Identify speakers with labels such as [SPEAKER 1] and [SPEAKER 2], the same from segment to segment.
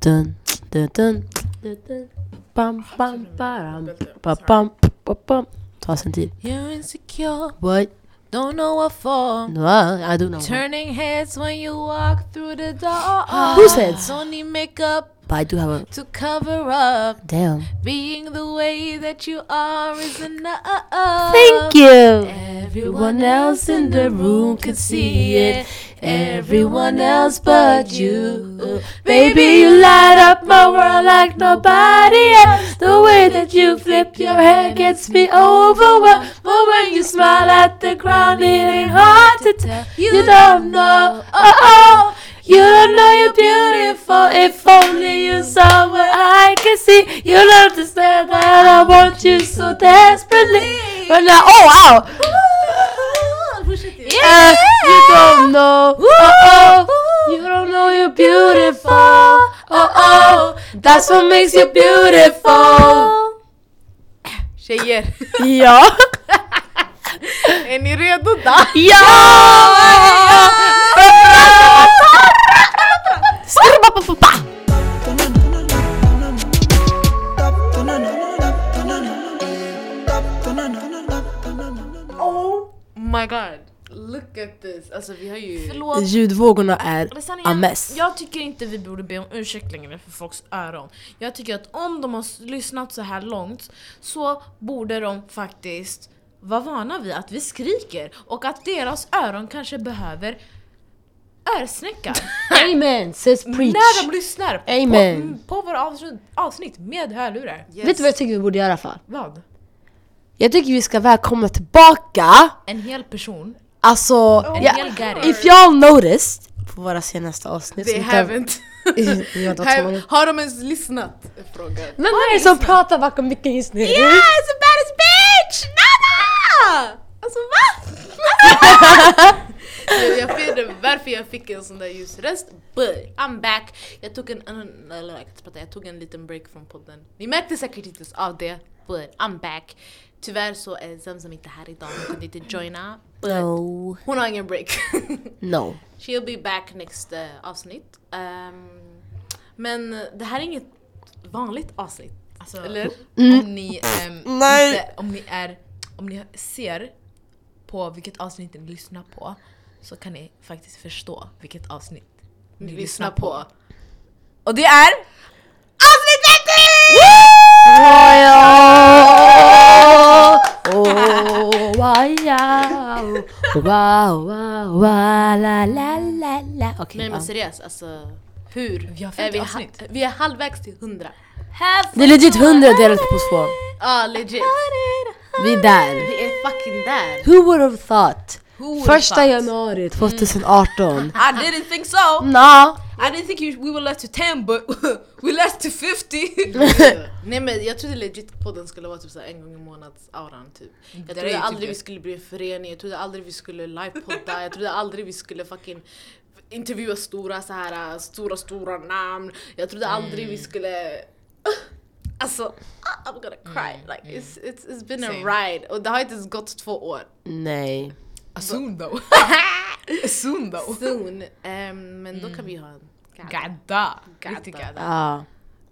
[SPEAKER 1] dun, dun, dun, dun, dun. Bam, bam, baram. Ba, bam, ba, bam. Ta sin tid.
[SPEAKER 2] You're insecure,
[SPEAKER 1] What?
[SPEAKER 2] don't know what for.
[SPEAKER 1] No, I don't know.
[SPEAKER 2] Turning heads when you walk through the door.
[SPEAKER 1] Whose heads?
[SPEAKER 2] Don't need makeup
[SPEAKER 1] But I do have a...
[SPEAKER 2] to cover up.
[SPEAKER 1] Damn.
[SPEAKER 2] Being the way that you are is enough.
[SPEAKER 1] Thank you.
[SPEAKER 2] Everyone else in the room can see it. Everyone else but you. Baby, you light up my world like nobody else. The way that you flip your hair gets me overwhelmed. But when you smile at the ground, it ain't hard to tell. You don't know. Oh, oh. You don't know you're beautiful if only you saw what I can see. You don't understand that I want you so desperately. But now, oh wow! Yeah. you don't know. Oh, oh. You don't know you're beautiful. Oh, oh. That's what makes you beautiful. Tjejer,
[SPEAKER 1] Ja!
[SPEAKER 2] är ni redo då?
[SPEAKER 1] Ja! Strubba-ba-ba-ba!
[SPEAKER 2] Oh my god. Look at this. Alltså vi har ju... Förlåt.
[SPEAKER 1] Ljudvågorna är
[SPEAKER 2] Men sanningen,
[SPEAKER 1] a mess.
[SPEAKER 2] Jag tycker inte vi borde be om ursäkt längre för folks öron. Jag tycker att om de har s- lyssnat så här långt så borde de faktiskt vara vana vid att vi skriker och att deras öron kanske behöver örsnäcka
[SPEAKER 1] Amen! Says
[SPEAKER 2] när de lyssnar på, mm,
[SPEAKER 1] Amen.
[SPEAKER 2] på våra avsnitt, avsnitt med hörlurar.
[SPEAKER 1] Vet du vad jag tycker vi borde göra för?
[SPEAKER 2] Vad?
[SPEAKER 1] Jag tycker vi ska välkomna tillbaka
[SPEAKER 2] En hel person.
[SPEAKER 1] Alltså, jag-
[SPEAKER 2] hel garry.
[SPEAKER 1] if y'all noticed på våra senaste avsnitt
[SPEAKER 3] They
[SPEAKER 1] som inte-
[SPEAKER 3] haven't.
[SPEAKER 1] Vi har inte varit så många.
[SPEAKER 3] Har de ens lyssnat? Frågar.
[SPEAKER 1] Men vad är det som pratar bakom micken just nu?
[SPEAKER 3] Yes, the baddest bitch! Nada! Alltså va? jag jag vet inte varför jag fick en sån där ljusröst, but I'm back! Jag tog en, en, eller jag kan inte prata, jag tog en liten break från podden. Ni märkte säkert inte av det, but I'm back! Tyvärr så är Zemzem inte här idag, hon kunde inte joina. But
[SPEAKER 1] No.
[SPEAKER 3] Hon har ingen break.
[SPEAKER 1] No.
[SPEAKER 3] She'll be back next eh, avsnitt. Ehm, men det här är inget vanligt avsnitt.
[SPEAKER 2] Alltså,
[SPEAKER 3] Eller?
[SPEAKER 2] Om, ni, ehm,
[SPEAKER 1] Mm. Nej.
[SPEAKER 2] inte, om, ni är, om ni ser på vilket avsnitt ni lyssnar på så kan ni faktiskt förstå vilket avsnitt ni, lyssnar på. Och det är...
[SPEAKER 1] Oh, wow, wow, wow, la, la, la, la. Okej,
[SPEAKER 3] Nej men
[SPEAKER 1] ja.
[SPEAKER 3] seriöst alltså. Hur?
[SPEAKER 2] Vi har
[SPEAKER 3] är vi,
[SPEAKER 2] 50 avsnitt.
[SPEAKER 3] ha- vi är halvvägs till 100.
[SPEAKER 1] Det är legit 100 delat på två.
[SPEAKER 3] Ja ah, legit.
[SPEAKER 1] Vi är där.
[SPEAKER 3] Vi är fucking där.
[SPEAKER 1] Who would have thought?
[SPEAKER 3] would've
[SPEAKER 1] Första
[SPEAKER 3] thought?
[SPEAKER 1] januari 2018.
[SPEAKER 2] I didn't think so!
[SPEAKER 1] Nå,
[SPEAKER 2] I didn't think you, we were left to 10 but we left to 50!
[SPEAKER 3] Nej men jag trodde legit podden skulle vara typ så här en gång i månads auran typ. Jag
[SPEAKER 2] Det är ju
[SPEAKER 3] trodde
[SPEAKER 2] typ
[SPEAKER 3] aldrig
[SPEAKER 2] det.
[SPEAKER 3] vi skulle bli en förening, jag trodde aldrig vi skulle livepodda, jag trodde aldrig vi skulle fucking intervjua stora så här äh, stora stora namn. Jag trodde aldrig
[SPEAKER 2] Mm.
[SPEAKER 3] vi skulle Alltså, ah, I'm gonna cry. Like, it's, it's, it's been
[SPEAKER 2] Mm, Same.
[SPEAKER 3] a ride. Och det har inte ens gått två år.
[SPEAKER 1] nej.
[SPEAKER 2] Soon though. Soon Mm. though.
[SPEAKER 3] Soon. Ehm, men då kan vi ha en
[SPEAKER 2] Gadda.
[SPEAKER 3] Gadda.
[SPEAKER 2] Riktig gadda.
[SPEAKER 1] Ja,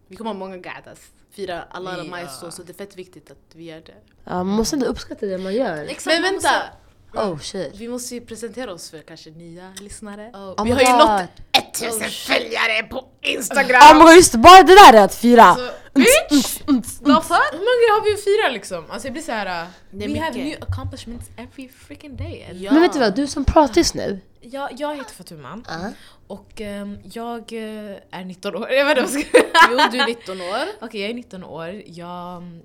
[SPEAKER 3] Vi kommer ha många gadas. Fira alla
[SPEAKER 2] Ja.
[SPEAKER 3] de majsår, så det är fett viktigt att vi gör det.
[SPEAKER 1] Ja, man måste ändå uppskatta det man gör.
[SPEAKER 2] Exakt,
[SPEAKER 3] Men
[SPEAKER 2] man
[SPEAKER 3] vänta!
[SPEAKER 2] måste-
[SPEAKER 1] Oh shit.
[SPEAKER 3] Vi måste ju presentera oss för kanske nya lyssnare.
[SPEAKER 1] Oh
[SPEAKER 3] vi
[SPEAKER 1] my
[SPEAKER 3] har ju
[SPEAKER 1] God.
[SPEAKER 3] nått
[SPEAKER 2] Oh,
[SPEAKER 3] 1000 följare på
[SPEAKER 1] Ja
[SPEAKER 3] Instagram!
[SPEAKER 1] men just det, bara det där är att fira!
[SPEAKER 3] Alltså,
[SPEAKER 2] Så, bitch! Varför? Hur många har vi att fira liksom? Alltså jag blir såhär...
[SPEAKER 3] Det är
[SPEAKER 2] We have new
[SPEAKER 3] mycket.
[SPEAKER 2] accomplishments every freaking day.
[SPEAKER 3] Ja.
[SPEAKER 1] Men vet du vad, du som pratar just nu.
[SPEAKER 2] Jag, jag heter Fatuma
[SPEAKER 3] Uh.
[SPEAKER 1] Ja.
[SPEAKER 2] och ehm, jag eh, är 19 år. Jag vet inte vad jag ska...
[SPEAKER 3] Jo, du är 19 år.
[SPEAKER 2] Okej, jag är 19 år. Jag, mm,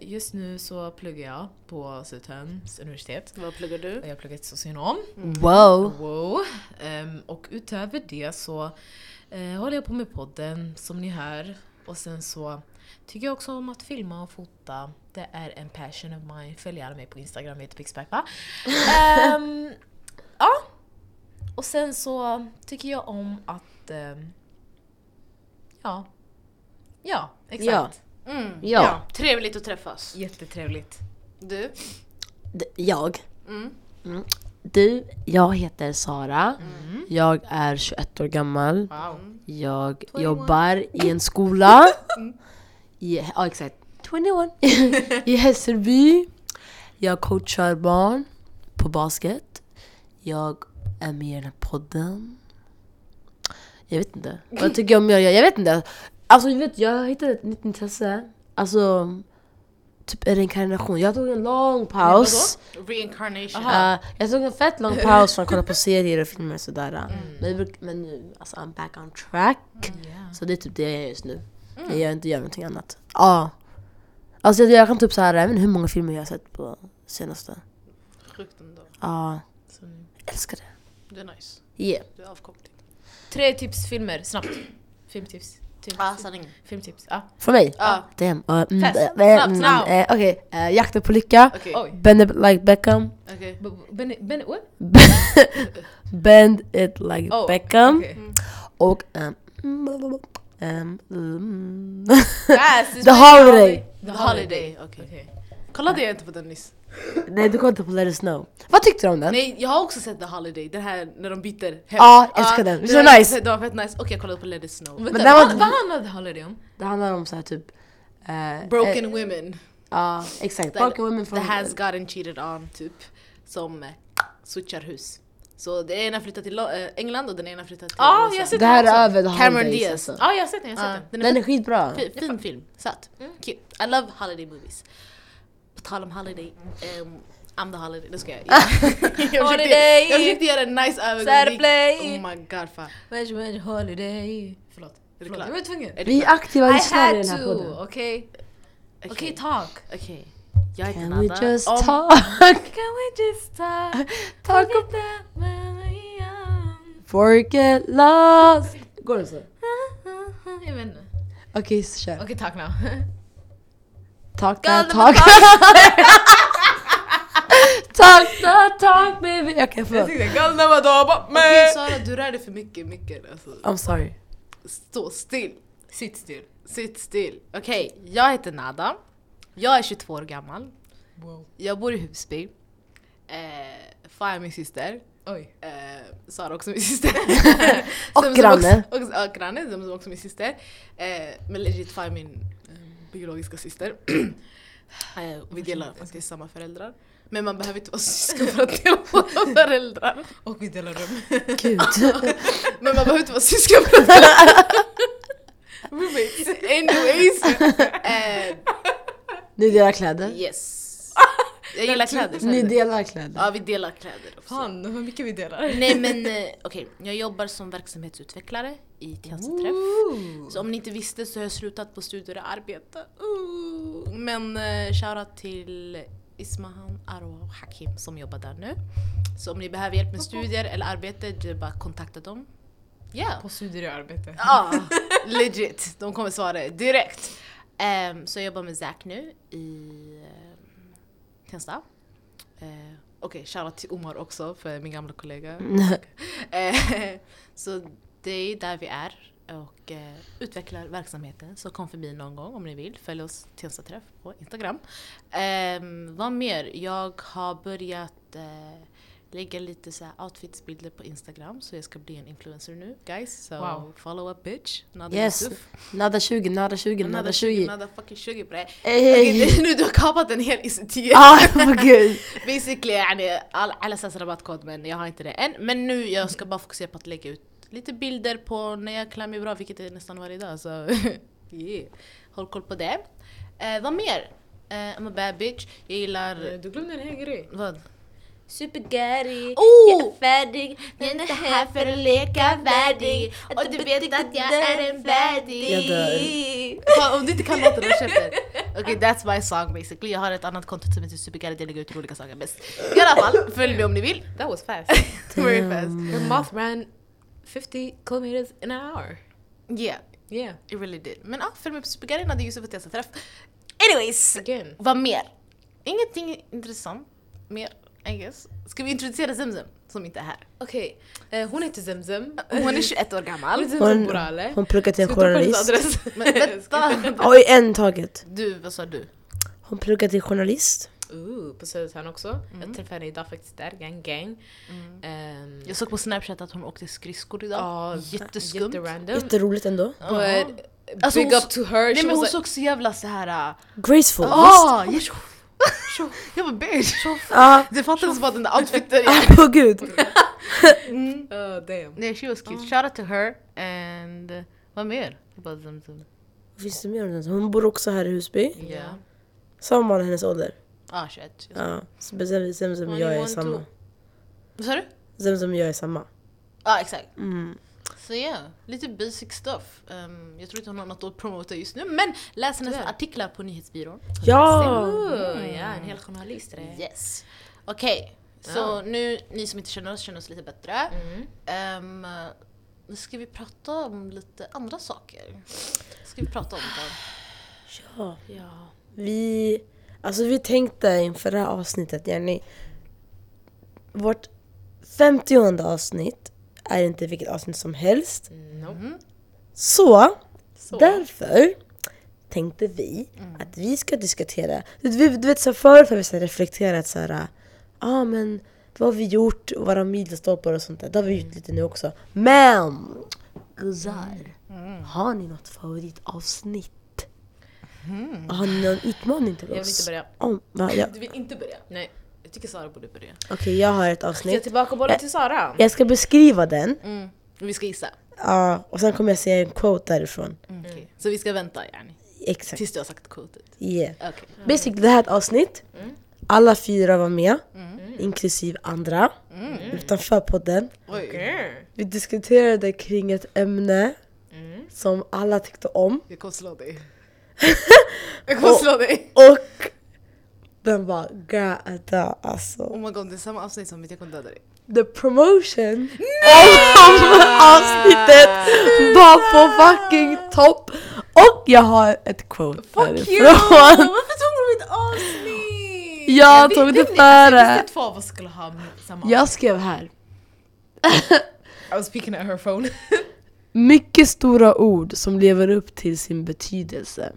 [SPEAKER 2] just nu så pluggar jag på Södertörns universitet.
[SPEAKER 3] Vad pluggar du?
[SPEAKER 2] Och Jag pluggar till socionom.
[SPEAKER 1] Wow.
[SPEAKER 2] Wow. Ehm, och utöver det så eh, håller jag på med podden som ni hör. Och sen så tycker jag också om att filma och fota. Det är en passion of mine. Följ gärna mig på Instagram, jag heter Pixpacpa. Ehm, ja. Och sen så tycker jag om att... ehm, ja. Ja, exakt.
[SPEAKER 3] Mm.
[SPEAKER 1] Ja.
[SPEAKER 3] Trevligt att träffas.
[SPEAKER 2] Jättetrevligt.
[SPEAKER 3] Du?
[SPEAKER 1] D- jag.
[SPEAKER 3] Mm.
[SPEAKER 1] Mm.
[SPEAKER 3] Mm.
[SPEAKER 1] Du, jag heter Sara. Jag är 21 år gammal.
[SPEAKER 3] Wow.
[SPEAKER 1] Jag jobbar i en skola. I, ja, exakt. 21. I Hässelby. Jag coachar barn på basket. Jag är med i den här podden. Jag vet inte. Vad tycker jag om jag gör? Jag vet inte. Alltså du vet, jag hittade ett nytt intresse. Alltså, typ en reinkarnation. Jag tog en lång paus.
[SPEAKER 3] Reincarnation.
[SPEAKER 1] Ja, jag tog en fett lång paus från att kolla på serier och filmer och sådär. Men, jag bruk- men nu, alltså I'm back on track. Så det är typ det jag gör just nu.
[SPEAKER 3] Mm.
[SPEAKER 1] Jag gör inte gör någonting annat. Ja. Alltså jag, jag kan typ såhär, jag vet inte hur många filmer jag har sett på senaste.
[SPEAKER 3] Sjukt ändå.
[SPEAKER 1] Ja,
[SPEAKER 3] Så
[SPEAKER 1] älskar det.
[SPEAKER 3] det är nice.
[SPEAKER 1] Yeah.
[SPEAKER 3] Du är avkopplad.
[SPEAKER 2] Tre tips filmer, snabbt. Filmtips. Tips.
[SPEAKER 3] Ja, sanningen.
[SPEAKER 2] Filmtips. Ja.
[SPEAKER 1] För mig?
[SPEAKER 3] Ja.
[SPEAKER 1] Damn. Uh, mm,
[SPEAKER 2] Fast,
[SPEAKER 1] eh,
[SPEAKER 2] snabbt,
[SPEAKER 1] mm,
[SPEAKER 2] snabbt.
[SPEAKER 1] eh, Okej, eh, Jakten på lycka.
[SPEAKER 3] Okej.
[SPEAKER 2] Oj.
[SPEAKER 1] Bend it like Beckham.
[SPEAKER 3] Okej.
[SPEAKER 2] B- b- Benny, Benny, what?
[SPEAKER 1] Bend it like
[SPEAKER 2] Oh,
[SPEAKER 1] Beckham.
[SPEAKER 2] okej.
[SPEAKER 3] Mm.
[SPEAKER 1] Och... ehm, mm, ehm, mm.
[SPEAKER 3] Yes, it's
[SPEAKER 1] The
[SPEAKER 3] my
[SPEAKER 1] Holiday.
[SPEAKER 3] The Holiday. Okej. Kollade jag inte på den nyss?
[SPEAKER 1] Nej du kollade på Let us know. Vad tyckte du om den?
[SPEAKER 3] Nej, jag har också sett The Holiday. Den här när de byter hem.
[SPEAKER 1] Ja, jag älskar den. Visst var den nice?
[SPEAKER 3] Den var fett nice. Okej, jag kollade på Let It Snow.
[SPEAKER 2] Vänta,
[SPEAKER 1] Men det var-
[SPEAKER 2] vad, vad handlade The Holiday om?
[SPEAKER 1] Det handlar om så här typ... eh,
[SPEAKER 3] Broken
[SPEAKER 1] eh,
[SPEAKER 3] women.
[SPEAKER 1] Ja, exakt.
[SPEAKER 3] Där-
[SPEAKER 1] Broken women
[SPEAKER 3] The
[SPEAKER 1] från...
[SPEAKER 3] has gotten cheated on, typ. Som eh, switchar hus. Så den ena flyttar till Lo- eh, England och den ena flyttar till
[SPEAKER 2] Ja,
[SPEAKER 3] USA.
[SPEAKER 2] Ah, jag ser
[SPEAKER 1] Det här
[SPEAKER 2] Alltså,
[SPEAKER 1] är över The
[SPEAKER 3] Cameron
[SPEAKER 1] Holidays,
[SPEAKER 3] Diaz.
[SPEAKER 1] alltså.
[SPEAKER 2] Ja, jag har sett den, jag har
[SPEAKER 3] Ja,
[SPEAKER 2] sett den.
[SPEAKER 3] den
[SPEAKER 1] Den
[SPEAKER 3] är
[SPEAKER 1] är skitbra.
[SPEAKER 3] fin, fin film. Söt. Cute. I love holiday movies. På tal om holiday. Um, I'm the holiday. Det ska jag. jag, försökte,
[SPEAKER 2] Holiday.
[SPEAKER 3] jag försökte göra en nice övergång.
[SPEAKER 2] Saturday.
[SPEAKER 3] Oh my god fan.
[SPEAKER 2] Where's my holiday?
[SPEAKER 3] Förlåt. Är du
[SPEAKER 2] Förlåt,
[SPEAKER 3] klar?
[SPEAKER 2] jag var tvungen.
[SPEAKER 3] Är du
[SPEAKER 1] Vi är
[SPEAKER 3] klar?
[SPEAKER 1] aktiva
[SPEAKER 2] I
[SPEAKER 1] lyssnare i
[SPEAKER 2] had
[SPEAKER 1] den här podden.
[SPEAKER 2] to, okej?
[SPEAKER 3] Okej.
[SPEAKER 2] Okej, talk.
[SPEAKER 3] Okej. Jag heter
[SPEAKER 1] Can we
[SPEAKER 3] Nada.
[SPEAKER 1] just
[SPEAKER 3] Om-
[SPEAKER 1] talk?
[SPEAKER 2] Can we just talk?
[SPEAKER 1] Talk
[SPEAKER 2] Talk about when we're young.
[SPEAKER 1] Forget lost. Går det så? Okej,
[SPEAKER 2] Jag vet inte.
[SPEAKER 1] så kör.
[SPEAKER 2] Okej, talk now.
[SPEAKER 1] Talk
[SPEAKER 2] Girl,
[SPEAKER 1] that
[SPEAKER 2] the
[SPEAKER 1] talk. talk that talk baby. Okej, förlåt.
[SPEAKER 2] Galna vadå?
[SPEAKER 3] Okej Sara, du rör dig för mycket, mycket. Alltså,
[SPEAKER 1] I'm sorry.
[SPEAKER 3] stå still.
[SPEAKER 2] Sitt still.
[SPEAKER 3] Sitt still. Okej, jag heter Nada. Jag är 22 år gammal.
[SPEAKER 2] Wow.
[SPEAKER 3] Jag bor i Husby. Eh, Fa är min syster.
[SPEAKER 2] Oj.
[SPEAKER 3] Eh, Sara är också min syster.
[SPEAKER 1] Och
[SPEAKER 3] Som- som
[SPEAKER 1] granne.
[SPEAKER 3] Också, och, ja, granne, som som också min syster. Eh, men legit Fa är min eh, biologiska syster. eh, vi delar faktiskt samma föräldrar. Men man behöver inte vara syskon för att dela på föräldrar.
[SPEAKER 2] Och vi delar rum.
[SPEAKER 1] Gud.
[SPEAKER 3] Men man behöver inte vara syskon för att dela Roommates. Anyways. Eh,
[SPEAKER 1] Ni delar kläder?
[SPEAKER 3] yes. Jag gillar kläder.
[SPEAKER 1] Ni
[SPEAKER 3] kläder.
[SPEAKER 1] delar kläder?
[SPEAKER 3] Ja, vi delar kläder också.
[SPEAKER 2] Fan, hur mycket vi delar.
[SPEAKER 3] Nej men eh, okej, jag jobbar som verksamhetsutvecklare i Cancerträff. Så om ni inte visste så har jag slutat på studier och arbete. Ooh. Men eh, shoutout till Ismahan, Arwa och Hakim som jobbar där nu. Så om ni behöver hjälp med studier eller arbete, det är bara att kontakta dem. Ja!
[SPEAKER 2] På studier och arbete.
[SPEAKER 3] Ja, legit. De kommer svara direkt. Ehm, så jag jobbar med Zack nu i ehm, Tensta. Eh, Okej, shoutout till Omar också för min gamla kollega. Eh, så det är där vi är och eh, utvecklar verksamheten. Så kom förbi någon gång om ni vill. Följ oss Tensta Träff på Instagram. Ehm, vad mer? Jag har börjat eh, lägga lite så här outfitsbilder på Instagram så jag ska bli en influencer nu guys. So
[SPEAKER 2] Wow.
[SPEAKER 3] follow up bitch. Nada
[SPEAKER 1] Yes.
[SPEAKER 3] Yusuf.
[SPEAKER 1] Nada 20, nada 20, nada 20.
[SPEAKER 3] Nada fucking 20 bre.
[SPEAKER 1] Ey. Ah, oh
[SPEAKER 3] Okej, Nu du har kapat en hel ICT.
[SPEAKER 1] Ja, men gud.
[SPEAKER 3] Basically yani, all, alla SAS rabattkod men jag har inte det än. Men nu jag ska bara fokusera på att lägga ut lite bilder på när jag klär mig bra, vilket är nästan varje dag. Så yeah. håll koll på det. Eh, vad mer? Eh, I'm a bad bitch. Jag
[SPEAKER 4] Uh,
[SPEAKER 3] gillar...
[SPEAKER 2] Du glömde en hel grej.
[SPEAKER 3] Vad?
[SPEAKER 2] Supergary,
[SPEAKER 3] jag är
[SPEAKER 2] färdig,
[SPEAKER 3] Jag är inte här för att leka värdig och du vet att jag är en värdig.
[SPEAKER 1] Jag
[SPEAKER 3] Fan, Om du inte kan låten, då köper Okej, that's my song basically. Jag har ett annat konto som heter Supergary där jag lägger ut roliga saker mest. I alla fall, följ mig om ni vill.
[SPEAKER 2] That was fast.
[SPEAKER 3] Very fast.
[SPEAKER 2] Your moth ran 50 kilometers an hour.
[SPEAKER 3] Yeah,
[SPEAKER 2] Yeah,
[SPEAKER 3] it really did. Men ja, följ mig på Supergary, Nadja Yusuf och Tessa Träff. Anyways,
[SPEAKER 2] again.
[SPEAKER 3] vad mer? Ingenting intressant mer, I guess. Ska vi introducera Zemzem som inte är här?
[SPEAKER 2] Okej, eh, hon heter Zemzem.
[SPEAKER 4] Uh,
[SPEAKER 3] Hon är 21 år gammal.
[SPEAKER 2] Hon heter Zemzem
[SPEAKER 1] Hon,
[SPEAKER 2] Borale.
[SPEAKER 1] hon pluggade till
[SPEAKER 2] Ska
[SPEAKER 1] en
[SPEAKER 2] vi ta på hennes
[SPEAKER 1] journalist.
[SPEAKER 2] adress?
[SPEAKER 3] Men vänta!
[SPEAKER 1] Oj, en taget.
[SPEAKER 3] Du, vad sa du?
[SPEAKER 1] Hon pluggade till journalist.
[SPEAKER 4] Ooh, på Södertörn också.
[SPEAKER 2] Mm-hmm.
[SPEAKER 4] Jag träffade henne idag faktiskt där, gang gang. Ehm,
[SPEAKER 3] Jag såg på snapchat att hon åkte skridskor idag.
[SPEAKER 4] ja,
[SPEAKER 3] jätteskumt.
[SPEAKER 4] Jätterandom.
[SPEAKER 2] Jätteroligt ändå.
[SPEAKER 4] Och, eh, big
[SPEAKER 3] Alltså, hon-
[SPEAKER 4] up to her.
[SPEAKER 3] Nej
[SPEAKER 4] She
[SPEAKER 3] men hon
[SPEAKER 4] was like,
[SPEAKER 3] såg så jävla så här.
[SPEAKER 2] Graceful.
[SPEAKER 3] Ah, jag, jag var bitch!
[SPEAKER 2] Ja. ah,
[SPEAKER 3] Det fattades bara den där outfiten.
[SPEAKER 2] På gud.
[SPEAKER 4] oh, damn.
[SPEAKER 3] Nej she was cute. Shout out to her and eh, vad mer? Jag bara, dum, dum.
[SPEAKER 2] Vad finns det mer om den? Hon bor också här i Husby.
[SPEAKER 3] Ja.
[SPEAKER 2] Samma man i hennes ålder.
[SPEAKER 3] Ah shit. Jag-
[SPEAKER 2] Ja. Så bestämde Zem som
[SPEAKER 4] Only
[SPEAKER 2] jag är
[SPEAKER 4] one,
[SPEAKER 2] samma.
[SPEAKER 3] Vad sa du?
[SPEAKER 2] Zem som jag är samma.
[SPEAKER 3] Ja exakt.
[SPEAKER 2] Mm.
[SPEAKER 3] Så ja, lite basic stuff. Ehm, jag tror inte hon har något att promota just nu men läs hennes
[SPEAKER 4] Tyvärr.
[SPEAKER 3] artiklar på nyhetsbyrån.
[SPEAKER 2] Ja!
[SPEAKER 4] Ooh, ja, en hel journalist. det.
[SPEAKER 3] Yes. Okej, så
[SPEAKER 4] Ja.
[SPEAKER 3] nu ni som inte känner oss känner oss lite bättre.
[SPEAKER 4] Mm.
[SPEAKER 3] Ehm, nu ska vi prata om lite andra saker. Ska vi prata om det?
[SPEAKER 2] Ja.
[SPEAKER 4] Ja.
[SPEAKER 2] Vi, alltså vi tänkte inför det här avsnittet, Jenny. Vårt 50 avsnitt är inte vilket avsnitt som helst.
[SPEAKER 4] Nope.
[SPEAKER 2] Så,
[SPEAKER 4] Så. Mm.
[SPEAKER 2] därför tänkte vi att vi ska diskutera. Du, du, du vet så här, förut har vi så här reflekterat så här, ah, men vad har vi gjort och våra milstolpar och sånt där. Det har vi
[SPEAKER 4] Mm.
[SPEAKER 2] gjort lite nu också. Men guzzar,
[SPEAKER 4] Mm.
[SPEAKER 2] har ni något favoritavsnitt? Har ni någon utmaning till oss?
[SPEAKER 4] Mm. Jag vill inte börja.
[SPEAKER 2] Om, va, ja.
[SPEAKER 3] Du vill inte börja?
[SPEAKER 4] Nej. Jag tycker Sara borde börja.
[SPEAKER 2] Okej, jag har ett
[SPEAKER 4] Ska jag
[SPEAKER 2] avsnitt.
[SPEAKER 4] tillbaka bollen till Sara? Mm.
[SPEAKER 2] Jag ska beskriva den
[SPEAKER 3] Vi ska gissa.
[SPEAKER 2] ja, och sen kommer jag säga en quote därifrån.
[SPEAKER 3] Okej. Så vi ska vänta yani,
[SPEAKER 2] Exakt.
[SPEAKER 3] tills du har sagt quotet.
[SPEAKER 2] Yeah.
[SPEAKER 3] Okej.
[SPEAKER 2] Basically, det här är ett avsnitt. Alla fyra var med, inklusive andra, utanför podden.
[SPEAKER 4] Okej.
[SPEAKER 2] Vi diskuterade kring ett ämne som alla tyckte om.
[SPEAKER 3] Jag kommer slå dig. jag kommer slå dig!
[SPEAKER 2] Och den var gata alltså.
[SPEAKER 3] Oh my god, det är samma avsnitt som mitt, jag kommer döda dig.
[SPEAKER 2] The promotion av avsnittet var på fucking topp! Och jag har ett quote därifrån.
[SPEAKER 4] Varför tog du mitt avsnitt?
[SPEAKER 2] Jag
[SPEAKER 4] vi-
[SPEAKER 2] tog det
[SPEAKER 4] vet ni,
[SPEAKER 2] före.
[SPEAKER 4] Alltså, jag visste att två av oss skulle ha samma
[SPEAKER 1] Jag skrev här.
[SPEAKER 4] I was speaking at her phone.
[SPEAKER 1] Mycket stora ord som lever upp till sin betydelse.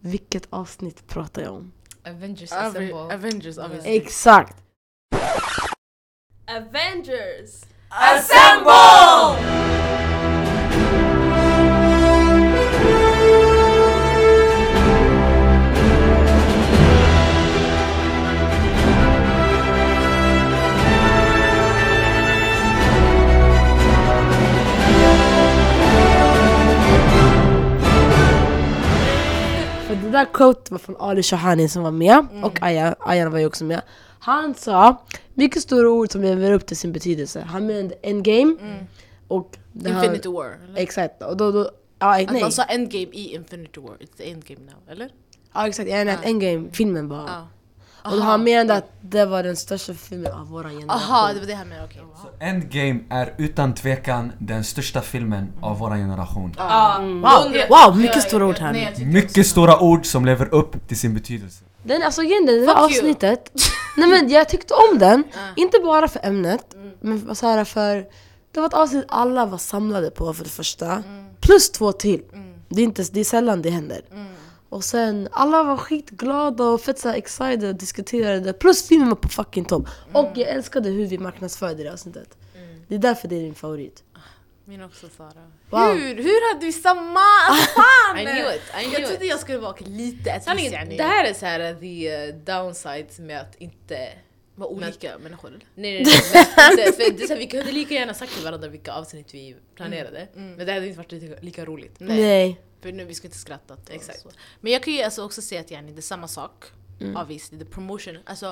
[SPEAKER 1] Vilket avsnitt pratar jag om?
[SPEAKER 3] Avengers,
[SPEAKER 4] Avengers assemble.
[SPEAKER 3] Avengers obviously.
[SPEAKER 1] Exakt!
[SPEAKER 5] Avengers!
[SPEAKER 1] För det där quotet var från Ali Shahani som var med och Ayan, Ayan var ju också med. Han sa mycket stora ord som lever upp till sin betydelse. Han menade endgame och det här,
[SPEAKER 3] Infinity War. Eller?
[SPEAKER 1] Exakt. Och då, då, ja,
[SPEAKER 3] Att
[SPEAKER 1] nej.
[SPEAKER 3] man sa endgame i Infinity War, it's the endgame now, eller?
[SPEAKER 1] ja exakt, jag menar att endgame, filmen bara.
[SPEAKER 3] Ja.
[SPEAKER 1] Och då han menade att det var den största filmen av våran generation.
[SPEAKER 3] Aha, det var det här med, okej.
[SPEAKER 6] Endgame är utan tvekan den största filmen av vår generation.
[SPEAKER 1] Wow, wow mycket stora ord här nu.
[SPEAKER 6] Mycket stora ord som lever upp till sin betydelse.
[SPEAKER 1] Den, alltså grejen är, det här
[SPEAKER 3] Fuck you.
[SPEAKER 1] avsnittet, nej men jag tyckte om den, inte bara för ämnet,
[SPEAKER 3] Mm.
[SPEAKER 1] men så här för det var ett avsnitt alla var samlade på för det första,
[SPEAKER 3] Mm.
[SPEAKER 1] plus två till. Det, är inte, det är sällan det händer. Och sen, alla var skitglada och fett så här excited och diskuterade, plus filmen var på fucking topp.
[SPEAKER 3] Mm.
[SPEAKER 1] Och jag älskade hur vi marknadsförde det avsnittet. Det är därför det är din favorit.
[SPEAKER 3] Min också Sara.
[SPEAKER 1] Wow.
[SPEAKER 3] Hur? Hur hade vi samma? Alltså, fan!
[SPEAKER 4] I knew it, I knew
[SPEAKER 3] jag trodde
[SPEAKER 4] it.
[SPEAKER 3] jag skulle vara lite at least,
[SPEAKER 4] Sanningen,
[SPEAKER 3] yani.
[SPEAKER 4] det här är så här the
[SPEAKER 2] uh,
[SPEAKER 4] eh, downsides med att inte
[SPEAKER 3] var olika människor eller?
[SPEAKER 4] Nej nej nej, men det- för det är så här, vi kunde lika gärna sagt till varandra vilka avsnitt vi planerade
[SPEAKER 3] Mm,
[SPEAKER 4] Men det hade inte varit lika, lika roligt
[SPEAKER 3] Nej.
[SPEAKER 1] Nej.
[SPEAKER 3] För nu, vi ska inte skratta. åt det och
[SPEAKER 4] Exakt.
[SPEAKER 3] Så. Men jag kan ju alltså också säga att yani, det är samma sak.
[SPEAKER 1] Mm.
[SPEAKER 3] Obviously, the promotion. Alltså,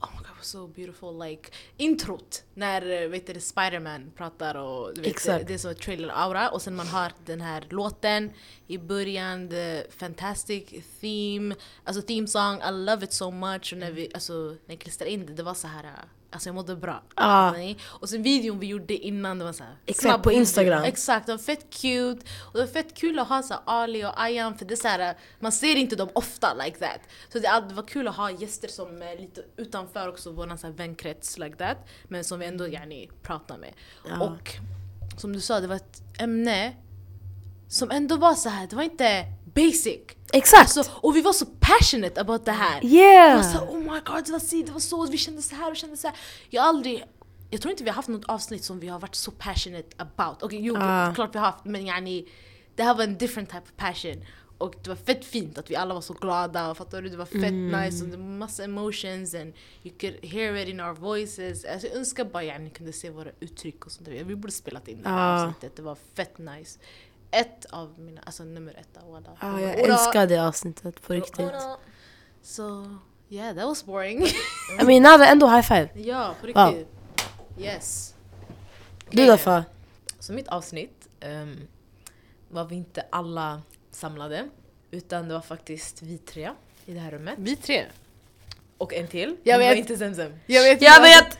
[SPEAKER 3] oh my god, it was so beautiful. Like, introt när eh, vet du, Spiderman pratar och du vet,
[SPEAKER 1] Exakt.
[SPEAKER 3] det är som ett trailer-aura. Och sen man har den här låten i början, the fantastic theme, alltså theme song, I love it so much. Och när
[SPEAKER 1] Mm.
[SPEAKER 3] vi alltså, när jag klistrade in det, det var så här, eh, alltså jag mådde bra.
[SPEAKER 1] Ah.
[SPEAKER 3] Nej. Och sen videon vi gjorde innan, det var så här,
[SPEAKER 1] Exakt,
[SPEAKER 3] snabb
[SPEAKER 1] på
[SPEAKER 3] video.
[SPEAKER 1] Instagram.
[SPEAKER 3] Exakt, de var fett cute. Och det var fett kul att ha så här Ali och Ayan för det är så här, man ser inte dem ofta like that. Så det, all- det var kul att ha gäster som är lite utanför också vår så här vänkrets like that. Men som vi ändå gärna pratar med. Och som du sa, det var ett ämne som ändå var så här, det var inte basic.
[SPEAKER 1] Exakt!
[SPEAKER 3] Så, och vi var så passionate about det här. Det var
[SPEAKER 1] yeah!
[SPEAKER 3] så här, oh my god, det var si, det var så, vi kände så här och kände så här. Jag har aldrig, jag tror inte vi har haft något avsnitt som vi har varit så passionate about. Okej, jo,
[SPEAKER 2] Ah.
[SPEAKER 3] klart vi har haft, men yani, det här var en different type of passion. Och det var fett fint att vi alla var så glada, och fattar du? Det var fett nice och det var massa emotions and you could hear it in our voices. Alltså, jag önskar bara yani, ni kunde se våra uttryck och sånt där. Vi borde spelat in det här
[SPEAKER 2] Ah.
[SPEAKER 3] avsnittet, det var fett nice. Ett av mina, alltså nummer ett, walla.
[SPEAKER 2] Ah, jag
[SPEAKER 3] Ora.
[SPEAKER 1] Älskar det avsnittet på
[SPEAKER 3] Typ.
[SPEAKER 1] riktigt.
[SPEAKER 3] Så, yeah that was boring.
[SPEAKER 1] I mean, nej, men ändå high five.
[SPEAKER 3] Ja, på
[SPEAKER 1] Wow.
[SPEAKER 3] riktigt. Yes.
[SPEAKER 1] Du då för?
[SPEAKER 4] Så mitt avsnitt ehm, var vi inte alla samlade. Utan det var faktiskt vi tre i det här rummet.
[SPEAKER 3] Vi tre.
[SPEAKER 4] Och en till.
[SPEAKER 3] Jag
[SPEAKER 4] Det var
[SPEAKER 3] vet.
[SPEAKER 4] inte Zemzem.
[SPEAKER 3] Jag vet.
[SPEAKER 1] Jag vet!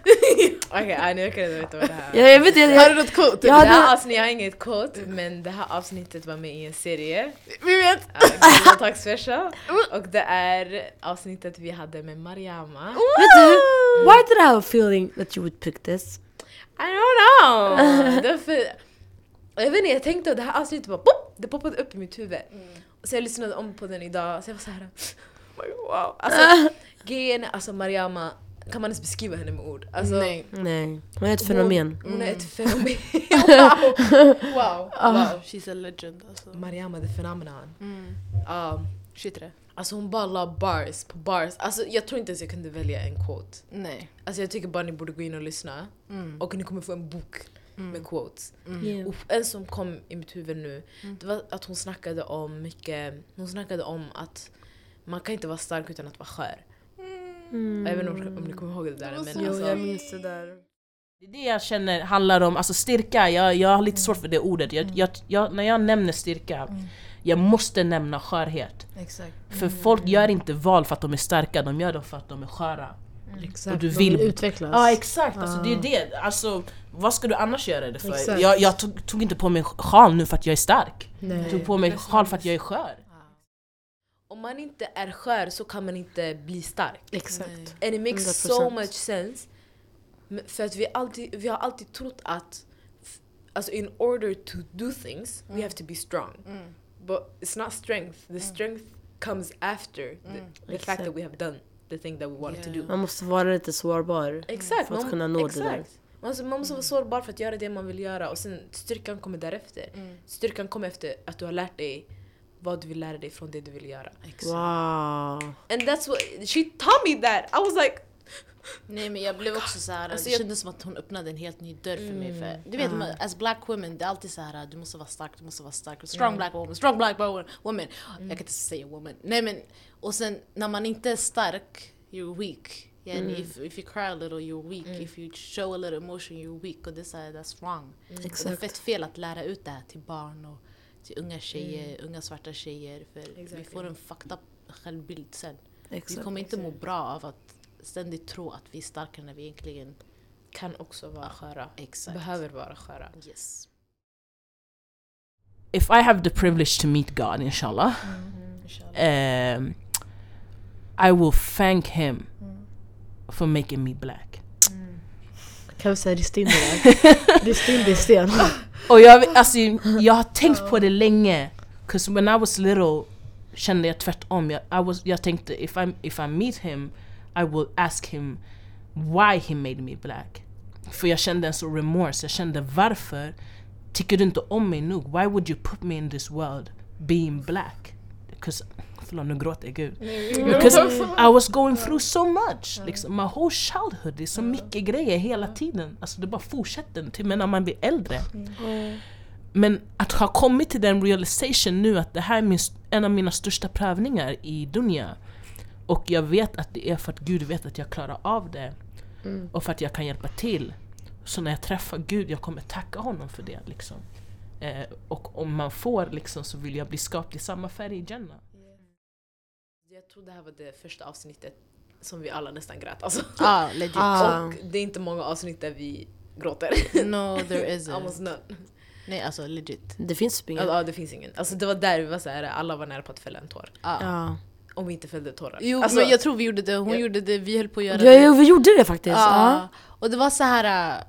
[SPEAKER 4] Okej, okay, nu kan jag inte veta vad det här
[SPEAKER 1] Jag vet jag,
[SPEAKER 3] Har
[SPEAKER 1] jag,
[SPEAKER 3] du något quote?
[SPEAKER 4] Det
[SPEAKER 1] Jag hade-
[SPEAKER 4] här avsnittet, jag har inget kort, men det här avsnittet var med i en serie.
[SPEAKER 3] Vi vet.
[SPEAKER 4] Ja, Gula Tax Special. Och det är avsnittet vi hade med Mariama.
[SPEAKER 1] vet du? Why did I have a feeling that you would pick this?
[SPEAKER 4] I don't know! Det är för, jag vet inte, jag tänkte att det här avsnittet bara pop, det poppade upp i mitt huvud.
[SPEAKER 3] Mm.
[SPEAKER 4] Och så jag lyssnade om på den idag, så jag var så här. Oh my God, wow. Alltså, grejen är, alltså Mariama, kan man ens beskriva henne med ord? Alltså,
[SPEAKER 3] Nej. Mm.
[SPEAKER 1] Nej, hon är ett fenomen.
[SPEAKER 4] Hon, hon är ett fenomen. wow. wow!
[SPEAKER 3] Wow, she's a legend alltså.
[SPEAKER 4] Mariama the phenomenon.
[SPEAKER 3] Mm.
[SPEAKER 4] Ja,
[SPEAKER 3] Shit det.
[SPEAKER 4] Um, alltså hon bara la bars på bars. Alltså jag tror inte ens jag kunde välja en quote.
[SPEAKER 3] Nej.
[SPEAKER 4] Alltså jag tycker bara ni borde gå in och lyssna.
[SPEAKER 3] Mm.
[SPEAKER 4] Och ni kommer få en bok med quotes.
[SPEAKER 2] Mm.
[SPEAKER 1] Yeah.
[SPEAKER 4] Och en som kom i mitt huvud nu, det var att hon snackade om mycket, hon snackade om att man kan inte vara stark utan att vara skör. Jag vet inte om, om ni kommer ihåg det där men alltså,
[SPEAKER 1] minns det där.
[SPEAKER 5] Det är det jag känner handlar om, alltså styrka, jag, jag har lite svårt för det ordet. Jag, jag, jag, när jag nämner styrka, jag måste nämna skörhet.
[SPEAKER 3] Exakt.
[SPEAKER 5] För folk gör inte val för att de är starka, de gör det för att de är sköra.
[SPEAKER 2] Exakt,
[SPEAKER 5] Och du
[SPEAKER 2] de
[SPEAKER 5] vill-
[SPEAKER 2] utvecklas.
[SPEAKER 5] Ja exakt, alltså, det är det. Alltså, vad ska du annars göra det för?
[SPEAKER 2] Exakt.
[SPEAKER 5] Jag, jag tog, tog inte på mig sjal nu för att jag är stark. Jag
[SPEAKER 2] Nej.
[SPEAKER 5] tog på mig sjal för att jag är skör.
[SPEAKER 4] om man inte är skör så kan man inte bli stark.
[SPEAKER 2] Exakt.
[SPEAKER 4] And it makes so
[SPEAKER 2] 100%.
[SPEAKER 4] much sense. Men- För att vi, alltid, vi har alltid trott att f- alltså in order to do things we have to be strong.
[SPEAKER 3] Mm.
[SPEAKER 4] But it's not strength. The strength comes after the, the fact that we have done the thing that we wanted to do.
[SPEAKER 1] Man måste vara lite sårbar.
[SPEAKER 4] Exakt.
[SPEAKER 1] För att
[SPEAKER 4] man-
[SPEAKER 1] kunna nå det
[SPEAKER 4] exakt.
[SPEAKER 1] där.
[SPEAKER 4] Man måste, man måste vara sårbar för att göra det man vill göra och sen styrkan kommer därefter.
[SPEAKER 3] mm.
[SPEAKER 4] Styrkan kommer efter att du har lärt dig vad du vill lära dig från det du vill göra.
[SPEAKER 1] Wow.
[SPEAKER 4] And that's what, she taught me that! I was like
[SPEAKER 3] Nej men jag Mm. blev också så här.
[SPEAKER 4] Alltså,
[SPEAKER 3] det
[SPEAKER 4] jag-
[SPEAKER 3] kändes som att hon öppnade en helt ny dörr för mig. För, du vet, man, as black women, det är alltid så här. du måste vara stark, du måste vara stark. Strong black woman, strong black woman. woman. Jag kan inte säga woman. Nej men, och sen när man inte är stark, you're weak. Yeah, and if, if you cry a little you're weak, if you show a little emotion you're weak. Och det är så här, that's wrong.
[SPEAKER 2] Mm.
[SPEAKER 3] Och Det är fett fel att lära ut det här till barn och till unga tjejer, unga svarta tjejer. För vi får en fucked up självbild sen. Vi kommer inte må bra av att ständigt tro att vi är starkare när vi egentligen
[SPEAKER 4] kan också vara sköra.
[SPEAKER 3] exakt.
[SPEAKER 4] Behöver vara sköra.
[SPEAKER 3] Yes.
[SPEAKER 5] If I have the privilege to meet God, inshallah, Mm, um, eh, I will thank him for making me black.
[SPEAKER 2] Kan vi säga Ristin det där? Ristin det är sten.
[SPEAKER 5] Och jag, alltså, jag har tänkt på det länge. Cause when I was little kände jag tvärtom. Jag, I was, jag tänkte if I, if I meet him I will ask him why he made me black. För jag kände en sån remorse. Jag kände varför tycker du inte om mig nog? Why would you put me in this world being black? Cause, förlåt nu gråter jag gud. Mm.
[SPEAKER 2] Mm.
[SPEAKER 5] Because I was going through so much. Liksom, my whole childhood, det är så mycket grejer hela tiden. Alltså det bara fortsätter, till och med när man blir äldre. Men att ha kommit till den realization nu att det här är min, en av mina största prövningar i Dunja. Och jag vet att det är för att Gud vet att jag klarar av det. Och för att jag kan hjälpa till. Så när jag träffar Gud, jag kommer tacka honom för det. Liksom. Eh, och om man får liksom, så vill jag bli skapt i samma färg i Jannah.
[SPEAKER 4] Jag tror det här var det första avsnittet som vi alla nästan grät alltså.
[SPEAKER 3] Ah, legit.
[SPEAKER 2] Ah.
[SPEAKER 4] Och det är inte många avsnitt där vi gråter.
[SPEAKER 3] No there isn't.
[SPEAKER 4] Almost none.
[SPEAKER 3] Nej alltså legit.
[SPEAKER 1] Det finns typ
[SPEAKER 4] Ja,
[SPEAKER 1] inget.
[SPEAKER 4] ja, det finns ingen. Alltså det var där vi var såhär, alla var nära på att fälla en tår.
[SPEAKER 3] Ah.
[SPEAKER 2] Ja.
[SPEAKER 4] Om vi inte fällde tårar.
[SPEAKER 3] Jo
[SPEAKER 4] alltså,
[SPEAKER 3] men jag tror vi gjorde det, hon
[SPEAKER 4] Ja.
[SPEAKER 3] gjorde det, vi höll på att göra
[SPEAKER 1] Ja,
[SPEAKER 3] det.
[SPEAKER 1] ja, vi gjorde det faktiskt.
[SPEAKER 3] Ja.
[SPEAKER 1] Ja.
[SPEAKER 3] Och det var så här... äh,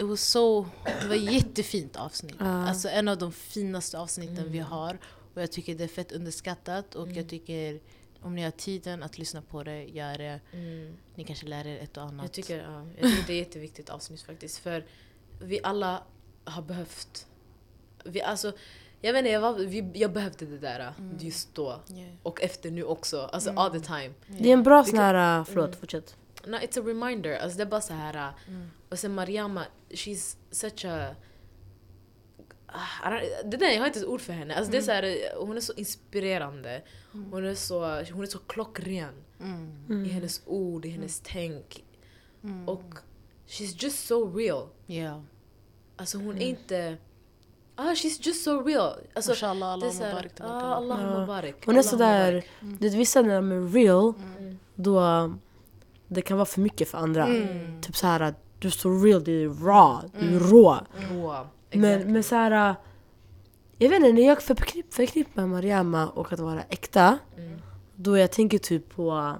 [SPEAKER 3] It was so, det var ett jättefint avsnitt. Alltså en av de finaste avsnitten vi har. Och Och jag tycker det är fett underskattat och
[SPEAKER 4] Mm.
[SPEAKER 3] jag tycker om ni har tiden att lyssna på det, gör det. Ni kanske lär er ett och annat.
[SPEAKER 4] Jag tycker, ja, jag tycker det är ett jätteviktigt avsnitt faktiskt. För vi alla har behövt... Vi, alltså, jag vet inte, jag, var, vi, jag behövde det där ah. just då.
[SPEAKER 3] Mm. Yeah. Mm.
[SPEAKER 4] Och efter nu också. Alltså all the time.
[SPEAKER 1] Det är en bra sån här... ah, Förlåt, fortsätt.
[SPEAKER 4] No, it's a reminder. Alltså det är bara så här.
[SPEAKER 3] Mm.
[SPEAKER 4] Och sen Mariama, she's such a... Ah, I don't- Det där, jag har inte ett ord för henne. Alltså det är så
[SPEAKER 3] Mm.
[SPEAKER 4] här, hon är så inspirerande. Hon, är så, hon är så klockren
[SPEAKER 3] Mm.
[SPEAKER 1] Mm.
[SPEAKER 4] i hennes ord, i hennes tänk. Och she's just so real.
[SPEAKER 3] Yeah.
[SPEAKER 4] Alltså hon är
[SPEAKER 3] Mm.
[SPEAKER 4] inte... Ah, she's just so real. Alltså,
[SPEAKER 3] Mashallah,
[SPEAKER 4] det är
[SPEAKER 3] Allah
[SPEAKER 4] så här,
[SPEAKER 3] Mubarak tillbaka.
[SPEAKER 4] Ah, Allah
[SPEAKER 1] Ja.
[SPEAKER 4] Mubarak.
[SPEAKER 1] Hon är
[SPEAKER 4] Allah
[SPEAKER 1] sådär,
[SPEAKER 4] Mubarak.
[SPEAKER 1] du vet vissa när de är real, då eh, det kan vara för mycket för andra. Typ så här att du är så real, du är raw, du är rå.
[SPEAKER 3] Mm.
[SPEAKER 4] Wow.
[SPEAKER 1] Men, men så här, eh, jag vet inte, när jag förknipp, förknippar Mariama och att vara äkta, då jag tänker typ på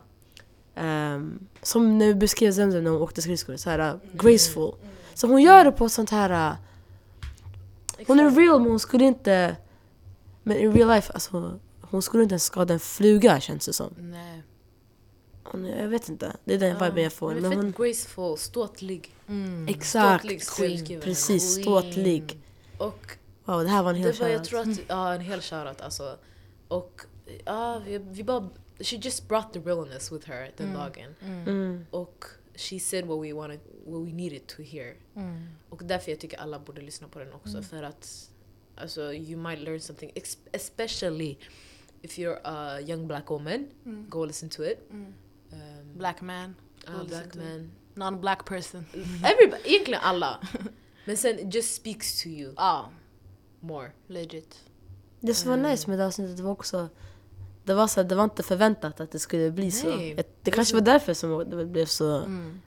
[SPEAKER 1] ehm, som när vi beskrev Zemzem när hon åkte skridskor, så här eh, graceful. Så hon gör det på ett sånt här eh, hon är real men hon skulle inte... Men i real life, alltså, hon skulle inte ens skada en fluga känns det som.
[SPEAKER 3] Nej.
[SPEAKER 1] Hon, jag vet inte, det är den
[SPEAKER 4] Ja,
[SPEAKER 1] viben jag får.
[SPEAKER 4] Hon
[SPEAKER 1] Men
[SPEAKER 4] är fett
[SPEAKER 1] hon,
[SPEAKER 4] graceful, ståtlig.
[SPEAKER 3] Mm.
[SPEAKER 1] exakt,
[SPEAKER 4] ståtlig,
[SPEAKER 1] queen,
[SPEAKER 4] självskriven.
[SPEAKER 1] precis,
[SPEAKER 3] Queen.
[SPEAKER 1] ståtlig.
[SPEAKER 4] Och
[SPEAKER 1] Wow, det här var en hel
[SPEAKER 4] det var, jag
[SPEAKER 1] shoutout.
[SPEAKER 4] tror
[SPEAKER 3] Mm.
[SPEAKER 4] att, ja en hel shoutout alltså. Och ja, vi, vi bara, she just brought the realness with her den dagen.
[SPEAKER 1] Mm.
[SPEAKER 4] Och she said what we wanted, what we needed to hear.
[SPEAKER 3] Mm.
[SPEAKER 4] Och därför jag tycker alla borde lyssna på den också för att alltså, you might learn something. Ex- Especially if you're a young black woman, go listen to it. Um,
[SPEAKER 3] Black man,
[SPEAKER 4] ah,
[SPEAKER 3] go listen
[SPEAKER 4] black
[SPEAKER 3] to
[SPEAKER 4] man.
[SPEAKER 3] non-black person.
[SPEAKER 4] Everybody, egentligen alla. Men sen it just speaks to you
[SPEAKER 3] Ja,
[SPEAKER 4] more.
[SPEAKER 3] legit.
[SPEAKER 1] Det som var
[SPEAKER 4] Eh.
[SPEAKER 1] nice med det avsnittet det var också... Det var, så här, det var inte förväntat att det skulle bli så.
[SPEAKER 4] Nej. Mm.
[SPEAKER 1] Jag- Det kanske var därför som det blev så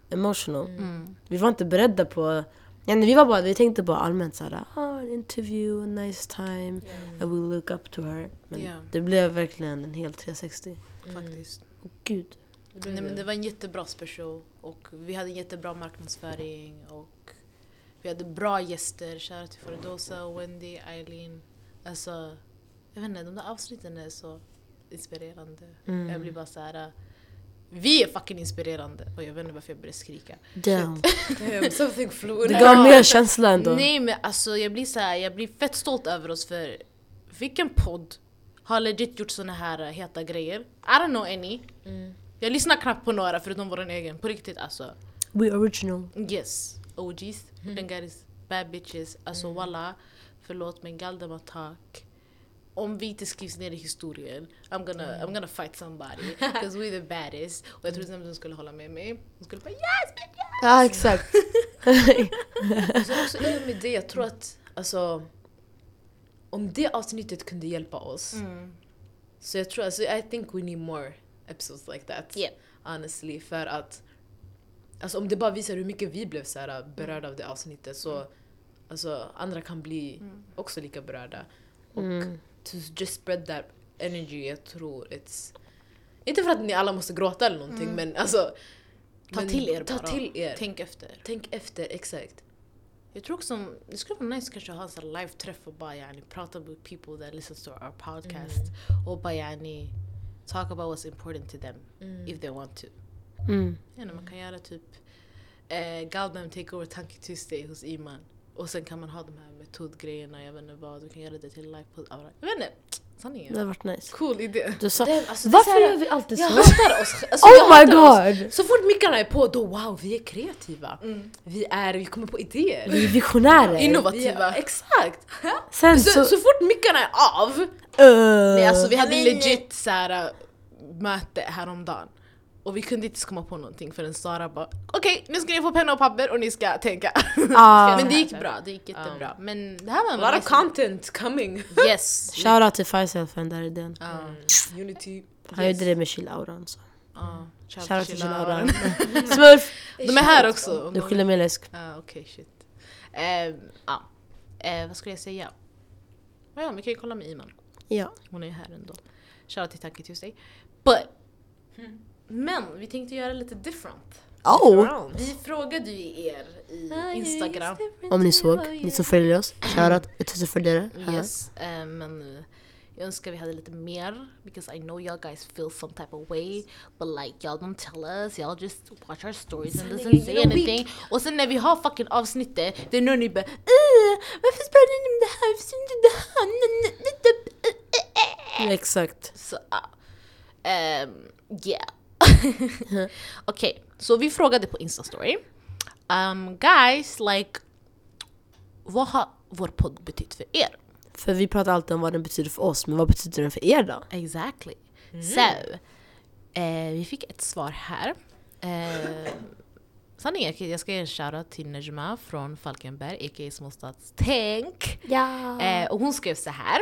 [SPEAKER 1] emotional.
[SPEAKER 3] Mm.
[SPEAKER 1] Vi var inte beredda på... Ja, nej, vi, var bara, vi tänkte bara allmänt såhär, ah, en interview, a nice time, I will look up to her. Men
[SPEAKER 3] Ja.
[SPEAKER 1] det blev verkligen en hel 360.
[SPEAKER 3] Faktiskt.
[SPEAKER 1] Åh gud.
[SPEAKER 4] Mm.
[SPEAKER 3] Nej, men det var en jättebra special och vi hade en jättebra marknadsföring och vi hade bra gäster. Shoutout till Faridosa, Wendy, Eileen. Alltså, jag vet inte, de där avsnitten är så inspirerande.
[SPEAKER 4] Mm.
[SPEAKER 3] Jag blir bara så här. äh, Vi är fucking inspirerande och jag vet inte varför jag började skrika.
[SPEAKER 1] Damn.
[SPEAKER 4] Damn, something flew in.
[SPEAKER 1] Det gav mer känsla ändå.
[SPEAKER 3] Nej men alltså jag blir så här, jag blir fett stolt över oss för vilken podd har legit gjort såna här eh, heta grejer? I don't know any. Jag lyssnar knappt på några förutom vår egen, på riktigt alltså.
[SPEAKER 1] We original.
[SPEAKER 3] Yes, OGs, den guys, bad bitches, alltså walla. Förlåt men galdematak. Om vi inte skrivs ner i historien, I'm gonna, I'm gonna fight somebody. Because we're the baddest. Och jag trodde att de skulle hålla med mig. De skulle bara yes bitch!
[SPEAKER 1] Ja, exakt.
[SPEAKER 4] Så också i och med det, jag tror att alltså, om det avsnittet kunde hjälpa oss. Så jag tror, alltså, I think we need more episodes like that.
[SPEAKER 3] Yeah.
[SPEAKER 4] Honestly, för att alltså, om det bara visar hur mycket vi blev så här,
[SPEAKER 3] Mm.
[SPEAKER 4] berörda av det avsnittet så alltså, andra kan bli
[SPEAKER 3] Mm.
[SPEAKER 4] också lika berörda. Och
[SPEAKER 1] Mm.
[SPEAKER 4] to just spread that energy, jag tror it's... Inte för att ni alla måste gråta eller någonting men alltså...
[SPEAKER 3] Mm. Ta
[SPEAKER 4] men
[SPEAKER 3] till er
[SPEAKER 4] ta
[SPEAKER 3] bara.
[SPEAKER 4] till er. Tänk,
[SPEAKER 3] Tänk efter.
[SPEAKER 4] tänk efter, exakt.
[SPEAKER 3] Jag tror också det skulle vara nice kanske att ha en sån här live-träff och bara yani, prata med people that listens to our podcast
[SPEAKER 4] Mm.
[SPEAKER 3] och bara yani, talk about what's important to them if they want to.
[SPEAKER 1] Mm.
[SPEAKER 3] Jag vet, man kan göra typ eh, Galdem take over Tanke Tuesday hos Iman och sen kan man ha de här metodgrejerna, jag vet inte vad, du kan göra det till livepodd. Jag vet inte, sanningen.
[SPEAKER 1] Det har varit nice.
[SPEAKER 3] Cool idé.
[SPEAKER 1] Du sa,
[SPEAKER 4] Den, alltså, det är så
[SPEAKER 1] varför
[SPEAKER 4] här-
[SPEAKER 1] gör vi alltid
[SPEAKER 4] Jag
[SPEAKER 1] så?
[SPEAKER 4] hatar oss. Alltså,
[SPEAKER 1] Oh
[SPEAKER 4] jag
[SPEAKER 1] my
[SPEAKER 4] hatar oss.
[SPEAKER 1] God.
[SPEAKER 4] Så fort mickarna är på, då wow, vi är kreativa.
[SPEAKER 3] Mm.
[SPEAKER 4] Vi, är, vi kommer på idéer.
[SPEAKER 1] Vi är visionärer.
[SPEAKER 4] Innovativa. exakt!
[SPEAKER 1] Sen
[SPEAKER 4] Så,
[SPEAKER 1] så...
[SPEAKER 4] så, fort mickarna är av,
[SPEAKER 3] Nej
[SPEAKER 1] Nej,
[SPEAKER 3] alltså vi hade legit så här äh, möte häromdagen och vi kunde inte ens komma på någonting förrän Sara bara okej nu ska ni få penna och papper och ni ska tänka.
[SPEAKER 1] Ah.
[SPEAKER 3] Men det gick bra, det gick jättebra. Men alltså- det här var en
[SPEAKER 4] a lot
[SPEAKER 3] nice-
[SPEAKER 4] of content coming.
[SPEAKER 3] Yes!
[SPEAKER 1] Shoutout till Faisal för den där idén.
[SPEAKER 4] Unity.
[SPEAKER 1] Han gjorde det med chill-auran. så.
[SPEAKER 3] Ja,
[SPEAKER 1] Shoutout till
[SPEAKER 3] chillar.
[SPEAKER 1] chill-auran. Smurf!
[SPEAKER 3] De är här också.
[SPEAKER 1] Du skyller mig läsk.
[SPEAKER 3] Ah, Okej shit. Ehm, ja. Eh, vad skulle jag säga? Ja, vi kan ju kolla med Iman.
[SPEAKER 1] Ja.
[SPEAKER 3] Hon är ju här ändå. Shoutout till Tanke Tuesday. But! Men vi tänkte göra lite different.
[SPEAKER 1] Oh.
[SPEAKER 3] Vi frågade ju er i Instagram.
[SPEAKER 1] Om ni såg, ni som följer oss. Shoutout till följare.
[SPEAKER 3] Yes, eh, men eh, Jag önskar vi hade lite mer, because I know y'all guys feel some type of way. But like y'all don't tell us, y'all just watch our stories and doesn't say anything. Och sen när vi har fucking avsnittet, det är nu ni bara "Eh, Varför pratar ni om det här? Varför inte det här? N- n- n- n- eh, eh, eh."
[SPEAKER 1] Exakt.
[SPEAKER 3] Så, ja. Ehm, yeah. Okej, så vi frågade på Insta-story. Um, guys, like, vad har vår podd betytt för er?
[SPEAKER 1] För vi pratar alltid om vad den betyder för oss, men vad betyder den för er då?
[SPEAKER 3] Exactly. So, eh, vi fick ett svar här. Eh, sanningen, jag ska ge en shoutout till Nejma från Falkenberg, a.k.a. Småstadstänk. Eh, och hon skrev så här.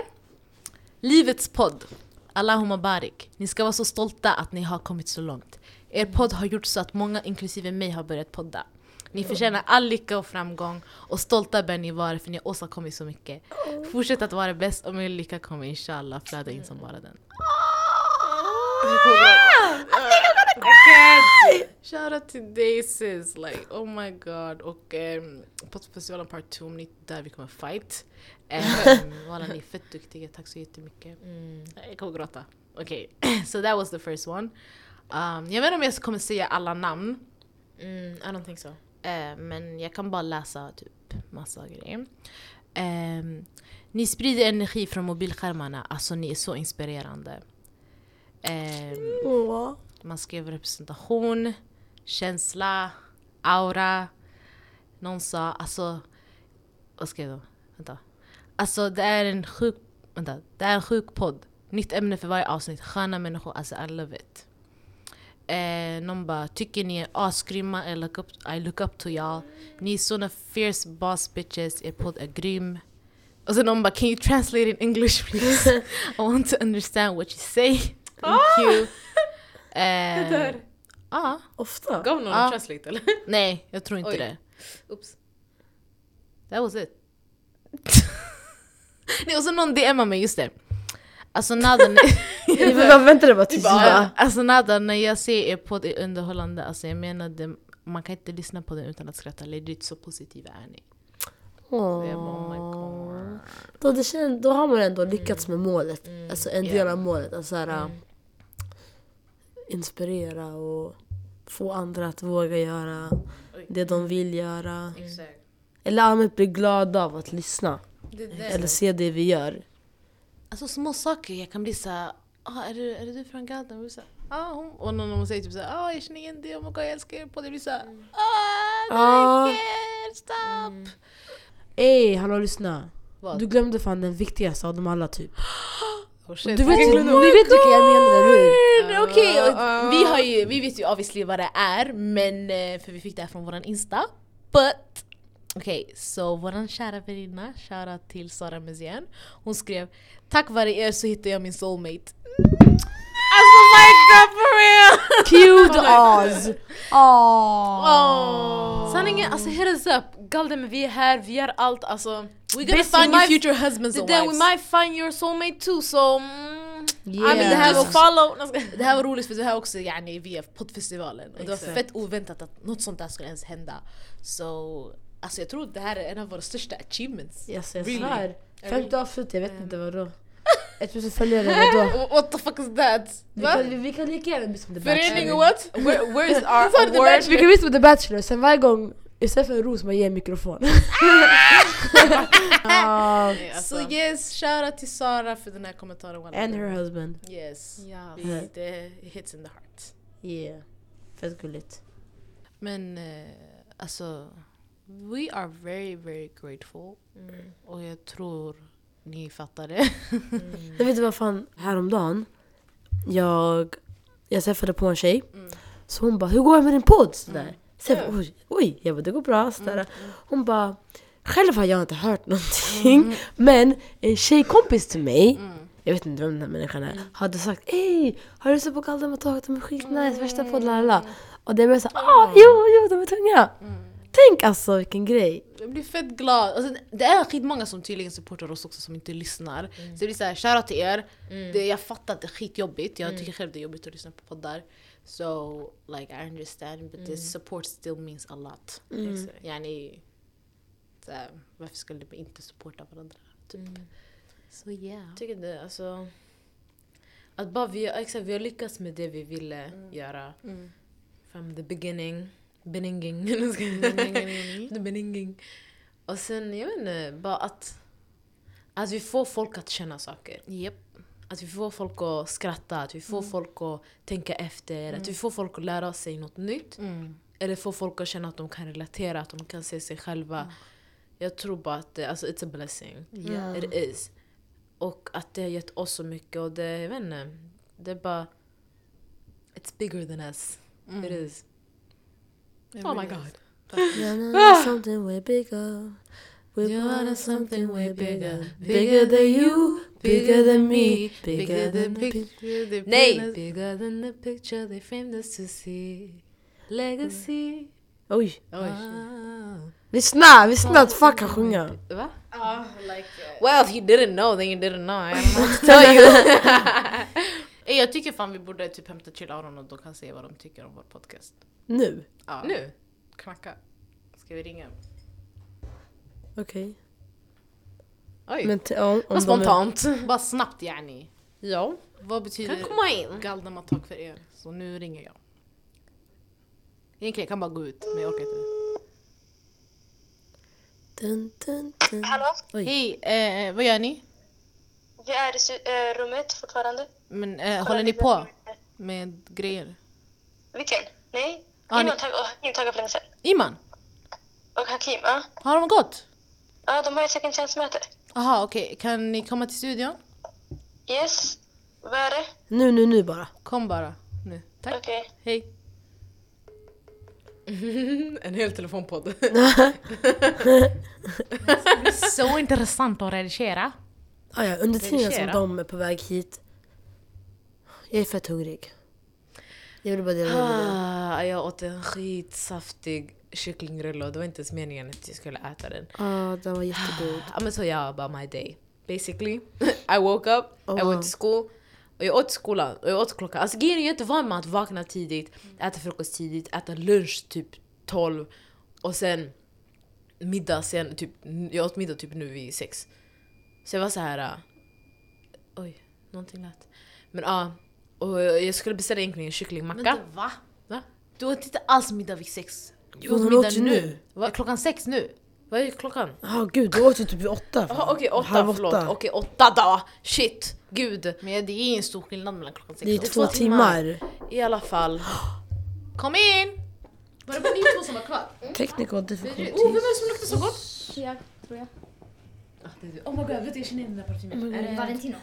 [SPEAKER 3] Livets podd. Allahumma barik. Ni ska vara så stolta att ni har kommit så långt. Er podd har gjort så att många, inklusive mig, har börjat podda. Ni förtjänar all lycka och framgång och stolta bör ni vara för ni har åstadkommit så mycket. Fortsätt att vara bäst och mer lycka kommer inshallah flöda in som bara den. Shoutout till dig sis, like oh my god. Och um, Pottfestivalen part 2, om ni är inte där vi kommer fight. Um, alla ni är fett duktiga, tack så jättemycket.
[SPEAKER 4] Mm.
[SPEAKER 3] Jag kommer gråta. Okej, so that was the first one. Um, jag vet inte om jag kommer säga alla namn.
[SPEAKER 4] Mm, I don't think so.
[SPEAKER 3] Eh, men jag kan bara läsa typ massa grejer. Ehm, ni sprider energi från mobilskärmarna, alltså ni är så inspirerande. Ehm, man skrev representation, känsla, aura. Någon sa alltså, vad skrev de? Vänta. Alltså det är en sjuk, vänta, det är en sjuk podd. Nytt ämne för varje avsnitt, sköna människor, alltså I love it. Eh, någon bara, tycker ni är asgrymma, I look, up, I look up to y'all. Ni är såna fierce boss bitches, er podd är grym. Och sen någon bara, can you translate in English please? I want to understand what you say. Thank you. Eh, ja,
[SPEAKER 1] Ofta.
[SPEAKER 4] Gav någon
[SPEAKER 3] Ja.
[SPEAKER 4] en translate eller?
[SPEAKER 3] nej jag tror inte
[SPEAKER 4] Oj.
[SPEAKER 3] det.
[SPEAKER 4] Oops.
[SPEAKER 3] That was it. nej och så någon DMar mig, just det. Alltså nada,
[SPEAKER 1] Vi bara väntade bara tills vi bara...
[SPEAKER 3] alltså nada, när jag ser er podd är underhållande, alltså jag menar det, man kan inte lyssna på den utan att skratta. Legit så positiva är ni. Och jag bara, oh my god.
[SPEAKER 1] Då, det känns, då har man ändå lyckats med målet. Alltså en del av målet. Alltså, såhär, äh, Inspirera och få andra att våga göra det de vill göra.
[SPEAKER 4] Exakt.
[SPEAKER 1] Eller allmänt bli glada av att lyssna.
[SPEAKER 4] Det
[SPEAKER 1] Eller se det vi gör.
[SPEAKER 3] Alltså små saker, jag kan bli såhär, ah, är, du, är det du från Garden? Och vi så här, Ah, hon. Och någon någon säger typ såhär, ah, jag känner igen dig, oh my god jag älskar er podd. Jag blir såhär, ah,
[SPEAKER 1] Ah.
[SPEAKER 3] thank you, stop!
[SPEAKER 1] Ey, hallå lyssna.
[SPEAKER 3] Vad?
[SPEAKER 1] Du glömde fan den viktigaste av dem alla typ.
[SPEAKER 3] Oh, shit.
[SPEAKER 1] Du vet, ni vet vilka jag menar, eller hur? Ah.
[SPEAKER 3] Men Okej, och vi, har ju, vi vet ju obviously vad det är, men eh, för vi fick det här från våran Insta. But Okej, så våran kära väninna, shoutout till Sara Muzien. Hon skrev Tack vare er så hittade jag min soulmate. Alltså my god for real!
[SPEAKER 1] Cute Oz!
[SPEAKER 4] Sanningen, alltså hit us up. Galden, vi är här, vi gör allt alltså.
[SPEAKER 3] We're gonna
[SPEAKER 4] Basically
[SPEAKER 3] find your
[SPEAKER 4] my-
[SPEAKER 3] future husbands
[SPEAKER 4] The
[SPEAKER 3] and
[SPEAKER 4] day we
[SPEAKER 3] wives.
[SPEAKER 4] might find your soulmate too so... Mm, I mean
[SPEAKER 1] Yeah.
[SPEAKER 4] det här
[SPEAKER 3] Just
[SPEAKER 4] går follow. Nej, jag skojar.
[SPEAKER 3] Det här var roligt för det här också yani, via poddfestivalen och det var
[SPEAKER 4] Exakt.
[SPEAKER 3] fett oväntat att något sånt där skulle ens hända. Så alltså jag tror det här är en av våra största achievements.
[SPEAKER 1] Yes, jag
[SPEAKER 3] Really?
[SPEAKER 1] svär. Femte avslut, jag vet inte vadå. Ett tusen följare, vadå?
[SPEAKER 3] What the fuck is that?
[SPEAKER 1] Vi kan, vi, vi kan leka även Miss the
[SPEAKER 4] Förening och
[SPEAKER 1] Bachelor.
[SPEAKER 4] what? Where, where is our
[SPEAKER 3] sa du, The
[SPEAKER 4] award?
[SPEAKER 1] Vi kan Miss the Bachelor, sen varje gång Istället för en ros man ger en mikrofon. Ah,
[SPEAKER 3] Så yes, uh. shoutout till Sara för den här kommentaren. wallah.
[SPEAKER 1] and her husband.
[SPEAKER 3] Yes.
[SPEAKER 4] Ja.
[SPEAKER 3] It, eh, hits in the heart.
[SPEAKER 1] Yeah. Fett gulligt.
[SPEAKER 3] Men eh, alltså, we are very very grateful. Och jag tror ni fattar det.
[SPEAKER 1] Jag vet inte vad fan, häromdagen. Jag, jag träffade på en tjej. Så hon bara, hur går det med din podd? Sådär. Så jag bara, oj, oj. Jag bara, det går bra. Sådär. Hon bara, själv har jag inte hört någonting. Men en tjejkompis till mig, jag vet inte vem den här människan är, hade sagt Ey, har du sett på Galden och taget? De är skitnice, värsta podd, lalala. Och det blev såhär, ah, jo, jo, de är tunga. Tänk alltså vilken grej.
[SPEAKER 3] Jag blir fett glad. Alltså, det är skitmånga som tydligen supportar oss också som inte lyssnar. Så det blir såhär, shoutout till er. Det, jag fattar att det är skitjobbigt, jag tycker själv det är jobbigt att lyssna på poddar. So like I understand but this support still means a lot. Yani, så här, varför skulle vi inte supporta varandra? Typ.
[SPEAKER 1] Så yeah.
[SPEAKER 4] Jag tycker det, alltså... Att bara vi, exakt, vi har lyckats med det vi ville göra.
[SPEAKER 3] Mm.
[SPEAKER 4] From the beginning. Beninging. the beninging. Och sen, jag vet inte, bara att... Att vi får folk att känna saker.
[SPEAKER 3] Japp. Mm.
[SPEAKER 4] Att vi får folk att skratta, att vi får folk att tänka efter, att vi får folk att lära sig något nytt.
[SPEAKER 3] Mm.
[SPEAKER 4] Eller få folk att känna att de kan relatera, att de kan se sig själva.
[SPEAKER 3] Mm.
[SPEAKER 4] Jag tror bara att det, alltså it's a blessing.
[SPEAKER 1] Ja.
[SPEAKER 4] It is. Och att det har gett oss så mycket och det, jag vet inte, det är bara... It's bigger than us.
[SPEAKER 3] Mm.
[SPEAKER 4] It is. oh my god.
[SPEAKER 1] You're not something way bigger. We
[SPEAKER 4] You're
[SPEAKER 1] want
[SPEAKER 4] not
[SPEAKER 1] something way bigger.
[SPEAKER 4] Bigger than you,
[SPEAKER 1] bigger than me, bigger than the picture.
[SPEAKER 4] Nej! Bigger than the picture they framed us to see. Legacy.
[SPEAKER 1] Oj.
[SPEAKER 4] Ah.
[SPEAKER 1] Lyssna, lyssna att fuck kan sjunga.
[SPEAKER 4] Va?
[SPEAKER 3] Ah, like, eh,
[SPEAKER 4] Mm. Well, if you didn't know, then you didn't know. I don't know what to
[SPEAKER 3] eh, jag tycker fan vi borde typ hämta Chill Aron och de kan se vad de tycker om vår podcast.
[SPEAKER 1] Nu?
[SPEAKER 3] Ja.
[SPEAKER 4] Nu?
[SPEAKER 3] Knacka. Ska vi ringa?
[SPEAKER 1] Okej.
[SPEAKER 4] Oj.
[SPEAKER 1] Men t- om, om
[SPEAKER 4] Vad spontant.
[SPEAKER 3] Bara snabbt yani.
[SPEAKER 4] Ja.
[SPEAKER 3] Vad betyder
[SPEAKER 4] in.
[SPEAKER 3] galdematak för er? Så nu ringer jag. Egentligen jag kan bara gå ut men jag orkar inte.
[SPEAKER 1] De är... dun, dun, dun.
[SPEAKER 7] Hallå?
[SPEAKER 3] Hej, eh, vad gör ni?
[SPEAKER 7] Jag är i sy- eh, rummet fortfarande.
[SPEAKER 3] Men, eh, håller ni på med grejer?
[SPEAKER 7] Vilken?
[SPEAKER 3] Ja,
[SPEAKER 7] Nej?
[SPEAKER 3] ni-
[SPEAKER 7] Ah, Iman tog Hakim tagit för länge sedan.
[SPEAKER 3] Iman,
[SPEAKER 7] Och Hakim, ja.
[SPEAKER 3] har de gått?
[SPEAKER 7] Ja, de har ett second chance-möte.
[SPEAKER 3] Aha, okej. Kan ni komma till studion?
[SPEAKER 7] Yes. Vad är det?
[SPEAKER 1] Nu, nu, nu bara.
[SPEAKER 3] Kom bara nu. Tack.
[SPEAKER 7] Okej.
[SPEAKER 3] Hej.
[SPEAKER 4] En hel telefonpodd.
[SPEAKER 3] Så intressant att redigera.
[SPEAKER 1] Ah, ja, under tiden som
[SPEAKER 4] Redigera.
[SPEAKER 1] de är på väg hit. Jag är fett hungrig. Jag vill bara dela med mig.
[SPEAKER 4] Ah, jag åt en skitsaftig kycklingrulle och det var inte ens meningen att jag skulle äta den.
[SPEAKER 1] Ah, den var jättegod.
[SPEAKER 4] Ja men så jag about my day. Basically, I woke up, I
[SPEAKER 1] wow.
[SPEAKER 4] went to school. Och jag åt i skolan och jag åt klockan. Alltså grejen är jag är inte van med att vakna tidigt, äta frukost tidigt, äta lunch typ 12 och sen middag sen. Typ, jag åt middag typ nu vid sex. Så jag var så här. äh, oj, någonting lät. Men ja,
[SPEAKER 2] äh,
[SPEAKER 4] och jag skulle beställa egentligen en kycklingmacka.
[SPEAKER 3] Vänta, va?
[SPEAKER 4] Va?
[SPEAKER 3] Du åt inte alls middag vid sex. Du
[SPEAKER 1] hon
[SPEAKER 3] åt
[SPEAKER 1] åt
[SPEAKER 3] middag
[SPEAKER 1] ju
[SPEAKER 3] nu.
[SPEAKER 1] nu.
[SPEAKER 3] Vad är klockan sex nu?
[SPEAKER 4] Vad är klockan?
[SPEAKER 1] Ah, gud, du åt ju typ vid åtta. fan.
[SPEAKER 4] Jaha okej, åtta,
[SPEAKER 1] Halv
[SPEAKER 4] förlåt. Okej, åtta då! Shit, gud.
[SPEAKER 3] Men det är en stor skillnad mellan klockan
[SPEAKER 1] Det är
[SPEAKER 3] sex och...
[SPEAKER 1] två,
[SPEAKER 4] två
[SPEAKER 1] timmar.
[SPEAKER 4] timmar. I alla fall.
[SPEAKER 3] Kom in! Var det bara ni två som var kvar?
[SPEAKER 1] Mm. Technical difficulty.
[SPEAKER 3] Oh, vem är det som luktar så gott?
[SPEAKER 8] Jag tror jag.
[SPEAKER 3] Oh my god, vet du, jag känner igen den där parfymen. Är det-
[SPEAKER 8] Valentino.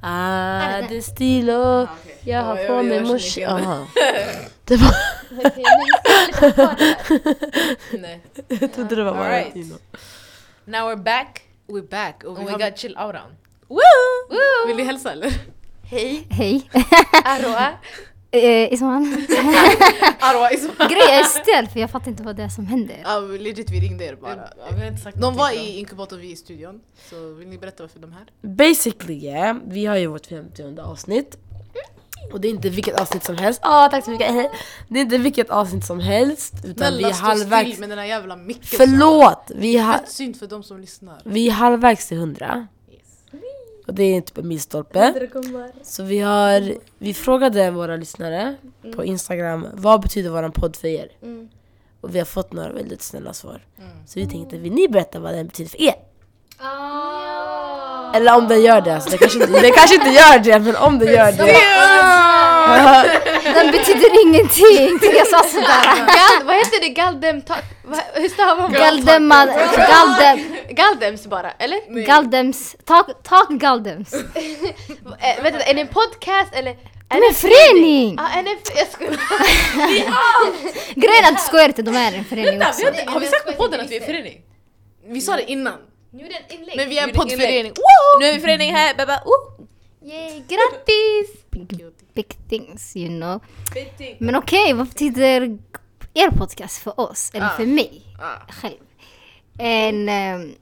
[SPEAKER 1] Ah, det är stilo. Jag har
[SPEAKER 4] Ja,
[SPEAKER 1] på
[SPEAKER 4] jag-
[SPEAKER 1] mig
[SPEAKER 4] jag känner
[SPEAKER 1] mors...
[SPEAKER 4] igen det.
[SPEAKER 1] Aha. Det var...
[SPEAKER 8] Okej, men
[SPEAKER 4] Nej.
[SPEAKER 1] Jag trodde det var
[SPEAKER 4] All
[SPEAKER 1] bara
[SPEAKER 4] right.
[SPEAKER 1] Tino.
[SPEAKER 4] Now we're back
[SPEAKER 3] We're back. Och vi
[SPEAKER 4] and we
[SPEAKER 3] har-
[SPEAKER 4] got chill out on.
[SPEAKER 3] Vill du hälsa eller?
[SPEAKER 8] Hej.
[SPEAKER 4] Arwa.
[SPEAKER 8] Eh, Isman.
[SPEAKER 4] Arwa is
[SPEAKER 8] Grejen är stel för jag fattar inte vad det är som händer.
[SPEAKER 3] Ja, legit vi ringde er bara.
[SPEAKER 4] Vi har inte sagt
[SPEAKER 3] De var i inkubatorn, vi i studion. Så vill ni berätta varför de är här?
[SPEAKER 1] Basically yeah, vi har ju vårt 50 avsnitt. Och det är inte vilket avsnitt som helst. Mm. Åh, tack så mycket. Det är inte vilket avsnitt som helst. Utan vi är
[SPEAKER 3] Snälla stå
[SPEAKER 1] halvvägs...
[SPEAKER 3] still med den här jävla micken.
[SPEAKER 1] Förlåt! Vi, är ha...
[SPEAKER 3] Fett synd för de som lyssnar.
[SPEAKER 1] vi är halvvägs till 100. Och det är typ en milstolpe. Så vi har... Vi frågade våra lyssnare på Instagram vad betyder våran podd för er? Och vi har fått några väldigt snälla svar. Så vi tänkte, vill ni berätta vad den betyder för er? Eller om den gör det, alltså, det, kanske inte, det kanske inte gör det, men om det gör det.
[SPEAKER 8] Den betyder ingenting. Jag sa sådär.
[SPEAKER 2] Gald, vad heter det? Galdem... Ta- vad, hur stavar man?
[SPEAKER 8] Galdemad... Galdem...
[SPEAKER 2] Galdems bara, eller?
[SPEAKER 8] Galdems... Talk, talk Galdems.
[SPEAKER 2] Eh, vänta, är det en podcast eller?
[SPEAKER 8] De är en förening!
[SPEAKER 2] Ja, en F- jag skulle...
[SPEAKER 8] Grejen är att du skojar inte, de är en förening också.
[SPEAKER 4] Har vi sagt på podden att vi är förening?
[SPEAKER 3] Vi sa det innan.
[SPEAKER 2] Nu är det en inlägg.
[SPEAKER 3] Men vi är en
[SPEAKER 4] Gjorde inlägg.
[SPEAKER 3] poddförening.
[SPEAKER 4] Nu är vi förening här, baba! Oh.
[SPEAKER 8] Yay, grattis! Big, big things, you know. Men okej, vad betyder er podcast för oss? Eller
[SPEAKER 3] Ah.
[SPEAKER 8] för mig? Själv. En... ehm,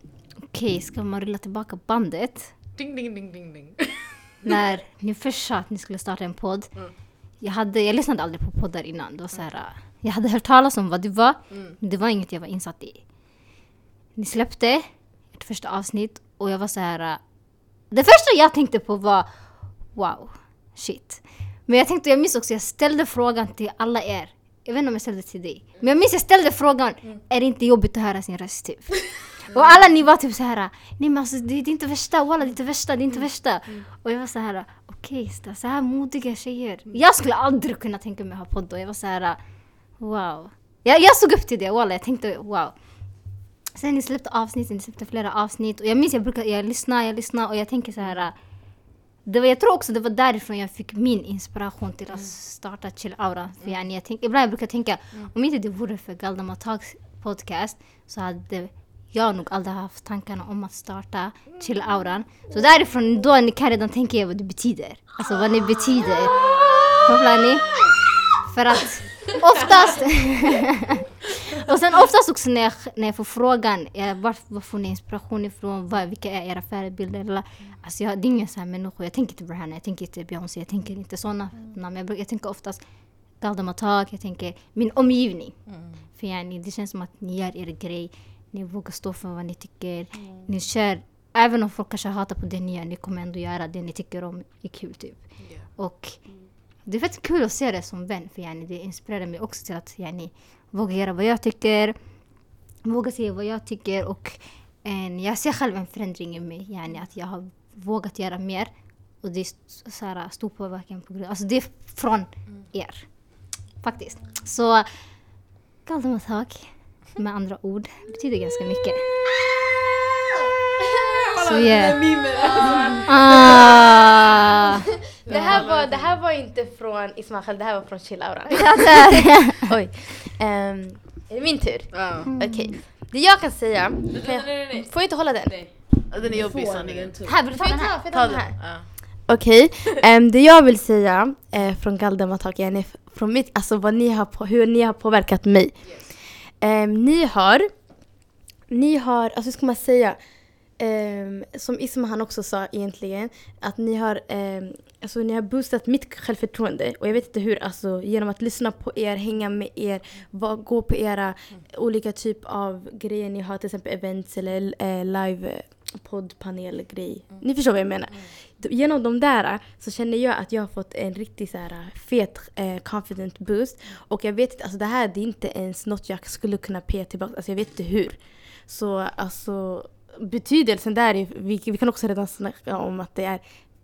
[SPEAKER 8] Okej, ska man rulla tillbaka bandet?
[SPEAKER 3] Ding ding ding ding ding.
[SPEAKER 8] När ni först sa att ni skulle starta en podd.
[SPEAKER 3] Mm.
[SPEAKER 8] Jag, hade, jag lyssnade aldrig på poddar innan. Det var så här, äh, jag hade hört talas om vad det var,
[SPEAKER 3] Mm.
[SPEAKER 8] men det var inget jag var insatt i. Ni släppte ert första avsnitt och jag var så här, äh, Det första jag tänkte på var wow, shit. Men jag tänkte, jag minns också, jag ställde frågan till alla er. Jag vet inte om jag ställde till dig. Men jag minns jag ställde frågan, är det inte jobbigt att höra sin röst typ? Och alla ni var typ så här, nej men alltså det, det är inte värsta, walla det är inte värsta, det är inte värsta. Och jag var så här, okej okay, så här modiga tjejer. Jag skulle aldrig kunna tänka mig att ha podd och jag var så här, wow. Jag, jag såg upp till det, walla jag tänkte wow. Sen ni släppte avsnitt, ni släppte flera avsnitt och jag minns jag brukar, jag lyssnar, jag lyssnar och jag tänker så här. äh, Det var, jag tror också det var därifrån jag fick min inspiration till att starta Chill Aura. För jag, jag tänk, ibland jag brukar tänka, om inte det vore för Galdemar Talks podcast så hade jag nog aldrig haft tankarna om att starta Chill Auran. Så därifrån då ni kan redan tänka er vad det betyder. Alltså vad ni betyder. Kopplar ni? För att oftast... och sen oftast också när jag, när jag får frågan eh, var, var får ni inspiration ifrån? Vad, vilka är era förebilder? Lala. Alltså jag, det är inga så här människor. Jag tänker inte på Rihanna, jag tänker inte Beyoncé, jag tänker inte sådana namn. Jag, brukar- jag tänker oftast Galdematak, jag tänker min omgivning. För yani, det känns som att ni gör er grej. Ni vågar stå för vad ni tycker. Ni kör, även om folk kanske hatar på det ni gör, ni kommer ändå göra det ni tycker om är kul typ. Och det är faktiskt kul att se det som vän för yani, det inspirerar mig också till att yani, våga göra vad jag tycker, våga säga vad jag tycker och en, jag ser själv en förändring i mig, yani, att jag har vågat göra mer och det är st- så här, stor påverkan på grund alltså det är från er. Faktiskt. Så Galdematak, med andra ord, betyder ganska mycket. Så yeah. Ah.
[SPEAKER 7] Det här var, det här var inte från Ismael, det här var från Chill-auran. Oj. Ehm, är det min tur?
[SPEAKER 3] Ja.
[SPEAKER 7] Okej. Det jag kan säga... Kan jag,
[SPEAKER 3] nej, nej.
[SPEAKER 7] får jag inte hålla den?
[SPEAKER 3] Den är jobbig sanningen.
[SPEAKER 8] Här, vill du ta den här?
[SPEAKER 7] Får jag
[SPEAKER 3] Ta
[SPEAKER 7] ta
[SPEAKER 3] den.
[SPEAKER 7] den här?
[SPEAKER 3] Ja.
[SPEAKER 7] Okej, ehm, det jag vill säga eh, från Galdematak är ni- från mitt, alltså vad ni har på, hur ni har påverkat mig. Ehm, ni har, ni har, alltså hur ska man säga, ehm, som Isma han också sa egentligen, att ni har, ehm, alltså ni har boostat mitt självförtroende och jag vet inte hur, alltså genom att lyssna på er, hänga med er, vad, gå på era olika typ av grejer ni har, till exempel events eller eh, live eh, poddpanelgrej. Ni förstår vad jag menar. D- Genom de där eh, så känner jag att jag har fått en riktigt så här fet eh, confident boost. Och jag vet att alltså, det här det är inte ens något jag skulle kunna peka tillbaka. Alltså jag vet inte hur. Så alltså betydelsen där, är, vi, vi kan också redan snacka om att det är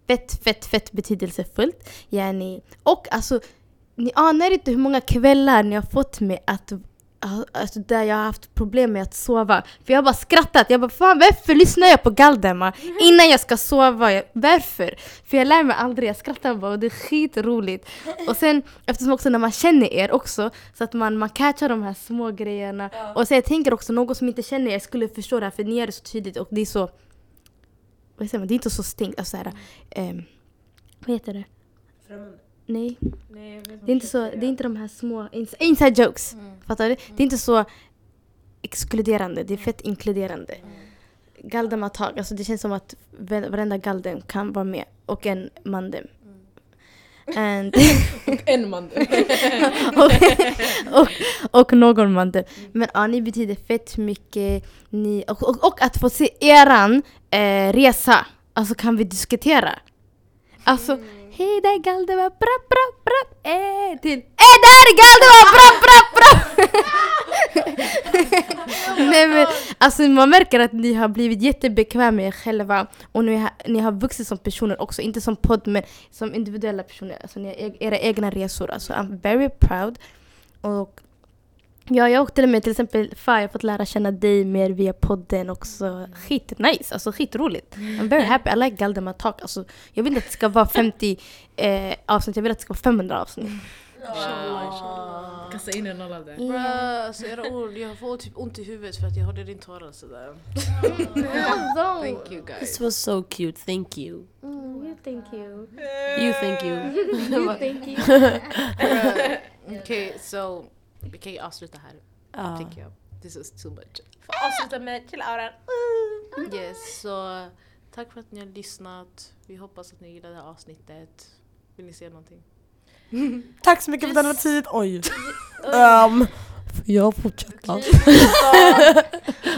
[SPEAKER 7] fett, fett, fett betydelsefullt. Yani. Och alltså ni anar inte hur många kvällar ni har fått mig att Alltså där jag har haft problem med att sova. För jag har bara skrattat. Jag bara fan varför lyssnar jag på Galdemar innan jag ska sova? Jag- Varför? För jag lär mig aldrig. Jag skrattar bara och det är skitroligt. Och sen eftersom också när man känner er också så att man, man catchar de här små grejerna. Och så jag tänker också någon som inte känner er skulle förstå det här för ni gör det så tydligt och det är så vad säger man? Det är inte så stängt. Alltså, så här, ehm, vad heter det? Nej. Det är inte, så, det är inte de här små ins- inside jokes. Fattar du? Det är inte så exkluderande, det är fett inkluderande. Galdematak, alltså det känns som att vä- varenda galden kan vara med. Och en mandem. And
[SPEAKER 4] En man.
[SPEAKER 7] och, och, och någon mandel. Men ja, ni betyder fett mycket. Ni, och, och, och att få se eran eh, resa, alltså kan vi diskutera. Alltså, hej där Galdemar, brapp, brapp, brapp, eh, till, eh där Galdemar, brapp, brapp, brapp! Nej men alltså man märker att ni har blivit jättebekväma med er själva och ni har, ni har vuxit som personer också, inte som podd men som individuella personer. Alltså ni har e- era egna resor. Alltså I'm very proud. Och ja, jag och till och med till exempel Fa, jag har fått lära känna dig mer via podden också.
[SPEAKER 1] Mm.
[SPEAKER 7] Skitnice, alltså skitroligt. I'm very happy, I like Galdemar talk. Alltså, jag vill inte att det ska vara 50 eh, avsnitt, jag vill att det ska vara 500 avsnitt.
[SPEAKER 1] Mm.
[SPEAKER 5] Kasta in en alla där.
[SPEAKER 3] Bra, alltså era ord, jag får typ ont i huvudet för att jag hörde din tårar sådär. Thank you guys.
[SPEAKER 1] This was so cute, thank you.
[SPEAKER 7] Thank you.
[SPEAKER 1] You thank Alltså, you.
[SPEAKER 3] Okej, så vi kan ju avsluta här,
[SPEAKER 1] Ah.
[SPEAKER 3] tycker jag. This is too much.
[SPEAKER 4] Avsluta med chill-auran.
[SPEAKER 3] Yes, så tack för att ni har lyssnat. Vi hoppas att ni gillade det här avsnittet. Vill ni säga någonting?
[SPEAKER 2] Tack så mycket för den här tiden. Oj. Ehm,
[SPEAKER 1] För jag fortsätter.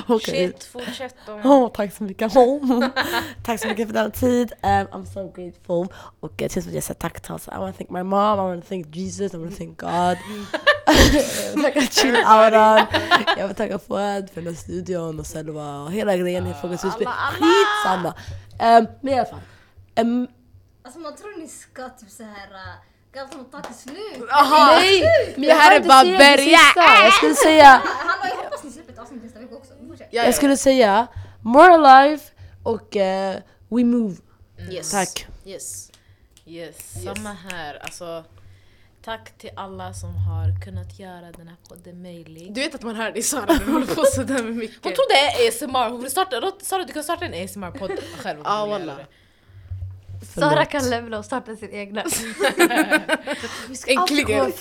[SPEAKER 1] Okej.
[SPEAKER 4] Shit, fortsätt
[SPEAKER 2] Mm.
[SPEAKER 4] då.
[SPEAKER 1] Åh, tack så mycket. Åh. tack så mycket för denna tid. Um, I'm so grateful. Och jag känns som att jag säger tack till alltså, I wanna thank my mom, I wanna thank Jesus, I wanna thank God. jag vill tacka Chill Auran. Jag vill tacka Fouad för den här studion och Selva och hela grejen. Uh, Fågels Husby. Skitsamma. Um, men i alla fall. Um,
[SPEAKER 8] Alltså man tror ni ska typ såhär... Galtan och Taki slut!
[SPEAKER 1] nej! Men
[SPEAKER 2] Det här
[SPEAKER 1] hann
[SPEAKER 2] är bara
[SPEAKER 1] inte säga det sista.
[SPEAKER 2] början.
[SPEAKER 1] Jag skulle säga...
[SPEAKER 8] Han bara, jag hoppas ni släpper ett avsnitt nästa vecka också. Fortsätt.
[SPEAKER 2] Ja,
[SPEAKER 1] Jag
[SPEAKER 2] ja.
[SPEAKER 1] skulle säga More Alive och eh, We Move.
[SPEAKER 2] Yes.
[SPEAKER 1] Tack.
[SPEAKER 2] Yes. Yes. Samma här. Alltså, tack till alla som har kunnat göra den här podden möjlig.
[SPEAKER 4] Du vet att man hör det i Sara när hon håller på sådär med mycket.
[SPEAKER 2] Hon trodde det är ASMR, hon ville starta, då- Sara du kan starta en ASMR-podd själv om du
[SPEAKER 4] Ja,
[SPEAKER 2] vill
[SPEAKER 4] wallah.
[SPEAKER 2] göra det.
[SPEAKER 8] Sara kan lämna och starta sin egna.
[SPEAKER 4] Äntligen!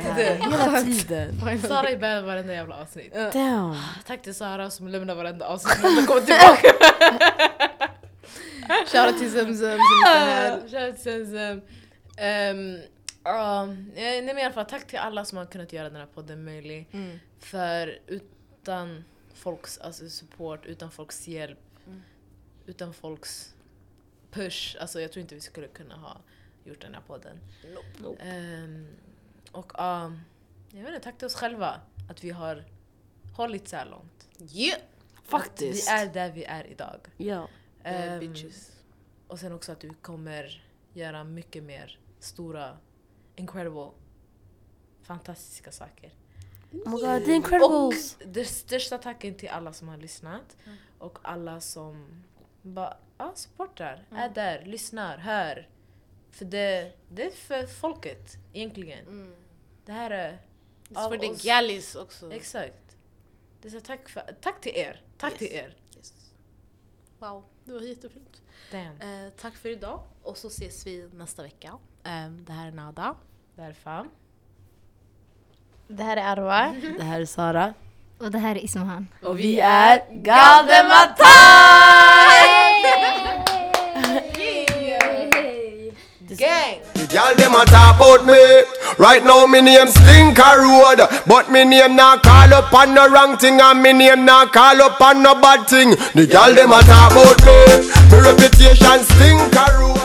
[SPEAKER 1] Hela tiden.
[SPEAKER 2] Sara är med i varenda jävla avsnitt.
[SPEAKER 1] Damn.
[SPEAKER 2] Tack till Sara som lämnar varenda avsnitt när hon kommer tillbaka.
[SPEAKER 4] Shoutout till Zemzem som inte är här.
[SPEAKER 2] Shoutout till Zemzem. Ehm, ja, eh, nej men i alla fall tack till alla som har kunnat göra den här podden möjlig.
[SPEAKER 4] Mm.
[SPEAKER 2] För utan folks alltså support, utan folks hjälp,
[SPEAKER 4] Mm.
[SPEAKER 2] utan folks push, alltså jag tror inte vi skulle kunna ha gjort den här podden. Ehm, och ja, jag vet inte, tack till oss själva att vi har hållit så här långt.
[SPEAKER 4] Yeah.
[SPEAKER 1] Faktiskt.
[SPEAKER 2] Vi är där vi är idag.
[SPEAKER 1] Ja.
[SPEAKER 2] Ehm,
[SPEAKER 4] Eh, bitches.
[SPEAKER 2] och sen också att du kommer göra mycket mer stora, incredible, fantastiska saker.
[SPEAKER 1] Oh my god, the incredibles.
[SPEAKER 2] Och det största tacken till alla som har lyssnat och alla som bara ja, supportar, är där, lyssnar, hör. För det, det är för folket egentligen. Det här är av
[SPEAKER 4] För
[SPEAKER 2] oss.
[SPEAKER 4] the galleys också.
[SPEAKER 2] Exakt. Det är så tack, för, tack till er. Tack till er.
[SPEAKER 4] Wow, det var jättefint.
[SPEAKER 2] Damn.
[SPEAKER 4] Eh, tack för idag och så ses vi nästa vecka. Eh, det här är Nada.
[SPEAKER 2] Därför.
[SPEAKER 9] Det här är Arwa.
[SPEAKER 1] Det här är Sara.
[SPEAKER 8] Och det här är Ismahan.
[SPEAKER 1] Och vi är Galdemata!
[SPEAKER 10] Y'all dem a talk about me Right now me name Slinker Road But me name not call up on no wrong thing And me name not call up on no bad thing The y'all dem a talk about me Me reputation Slinker Road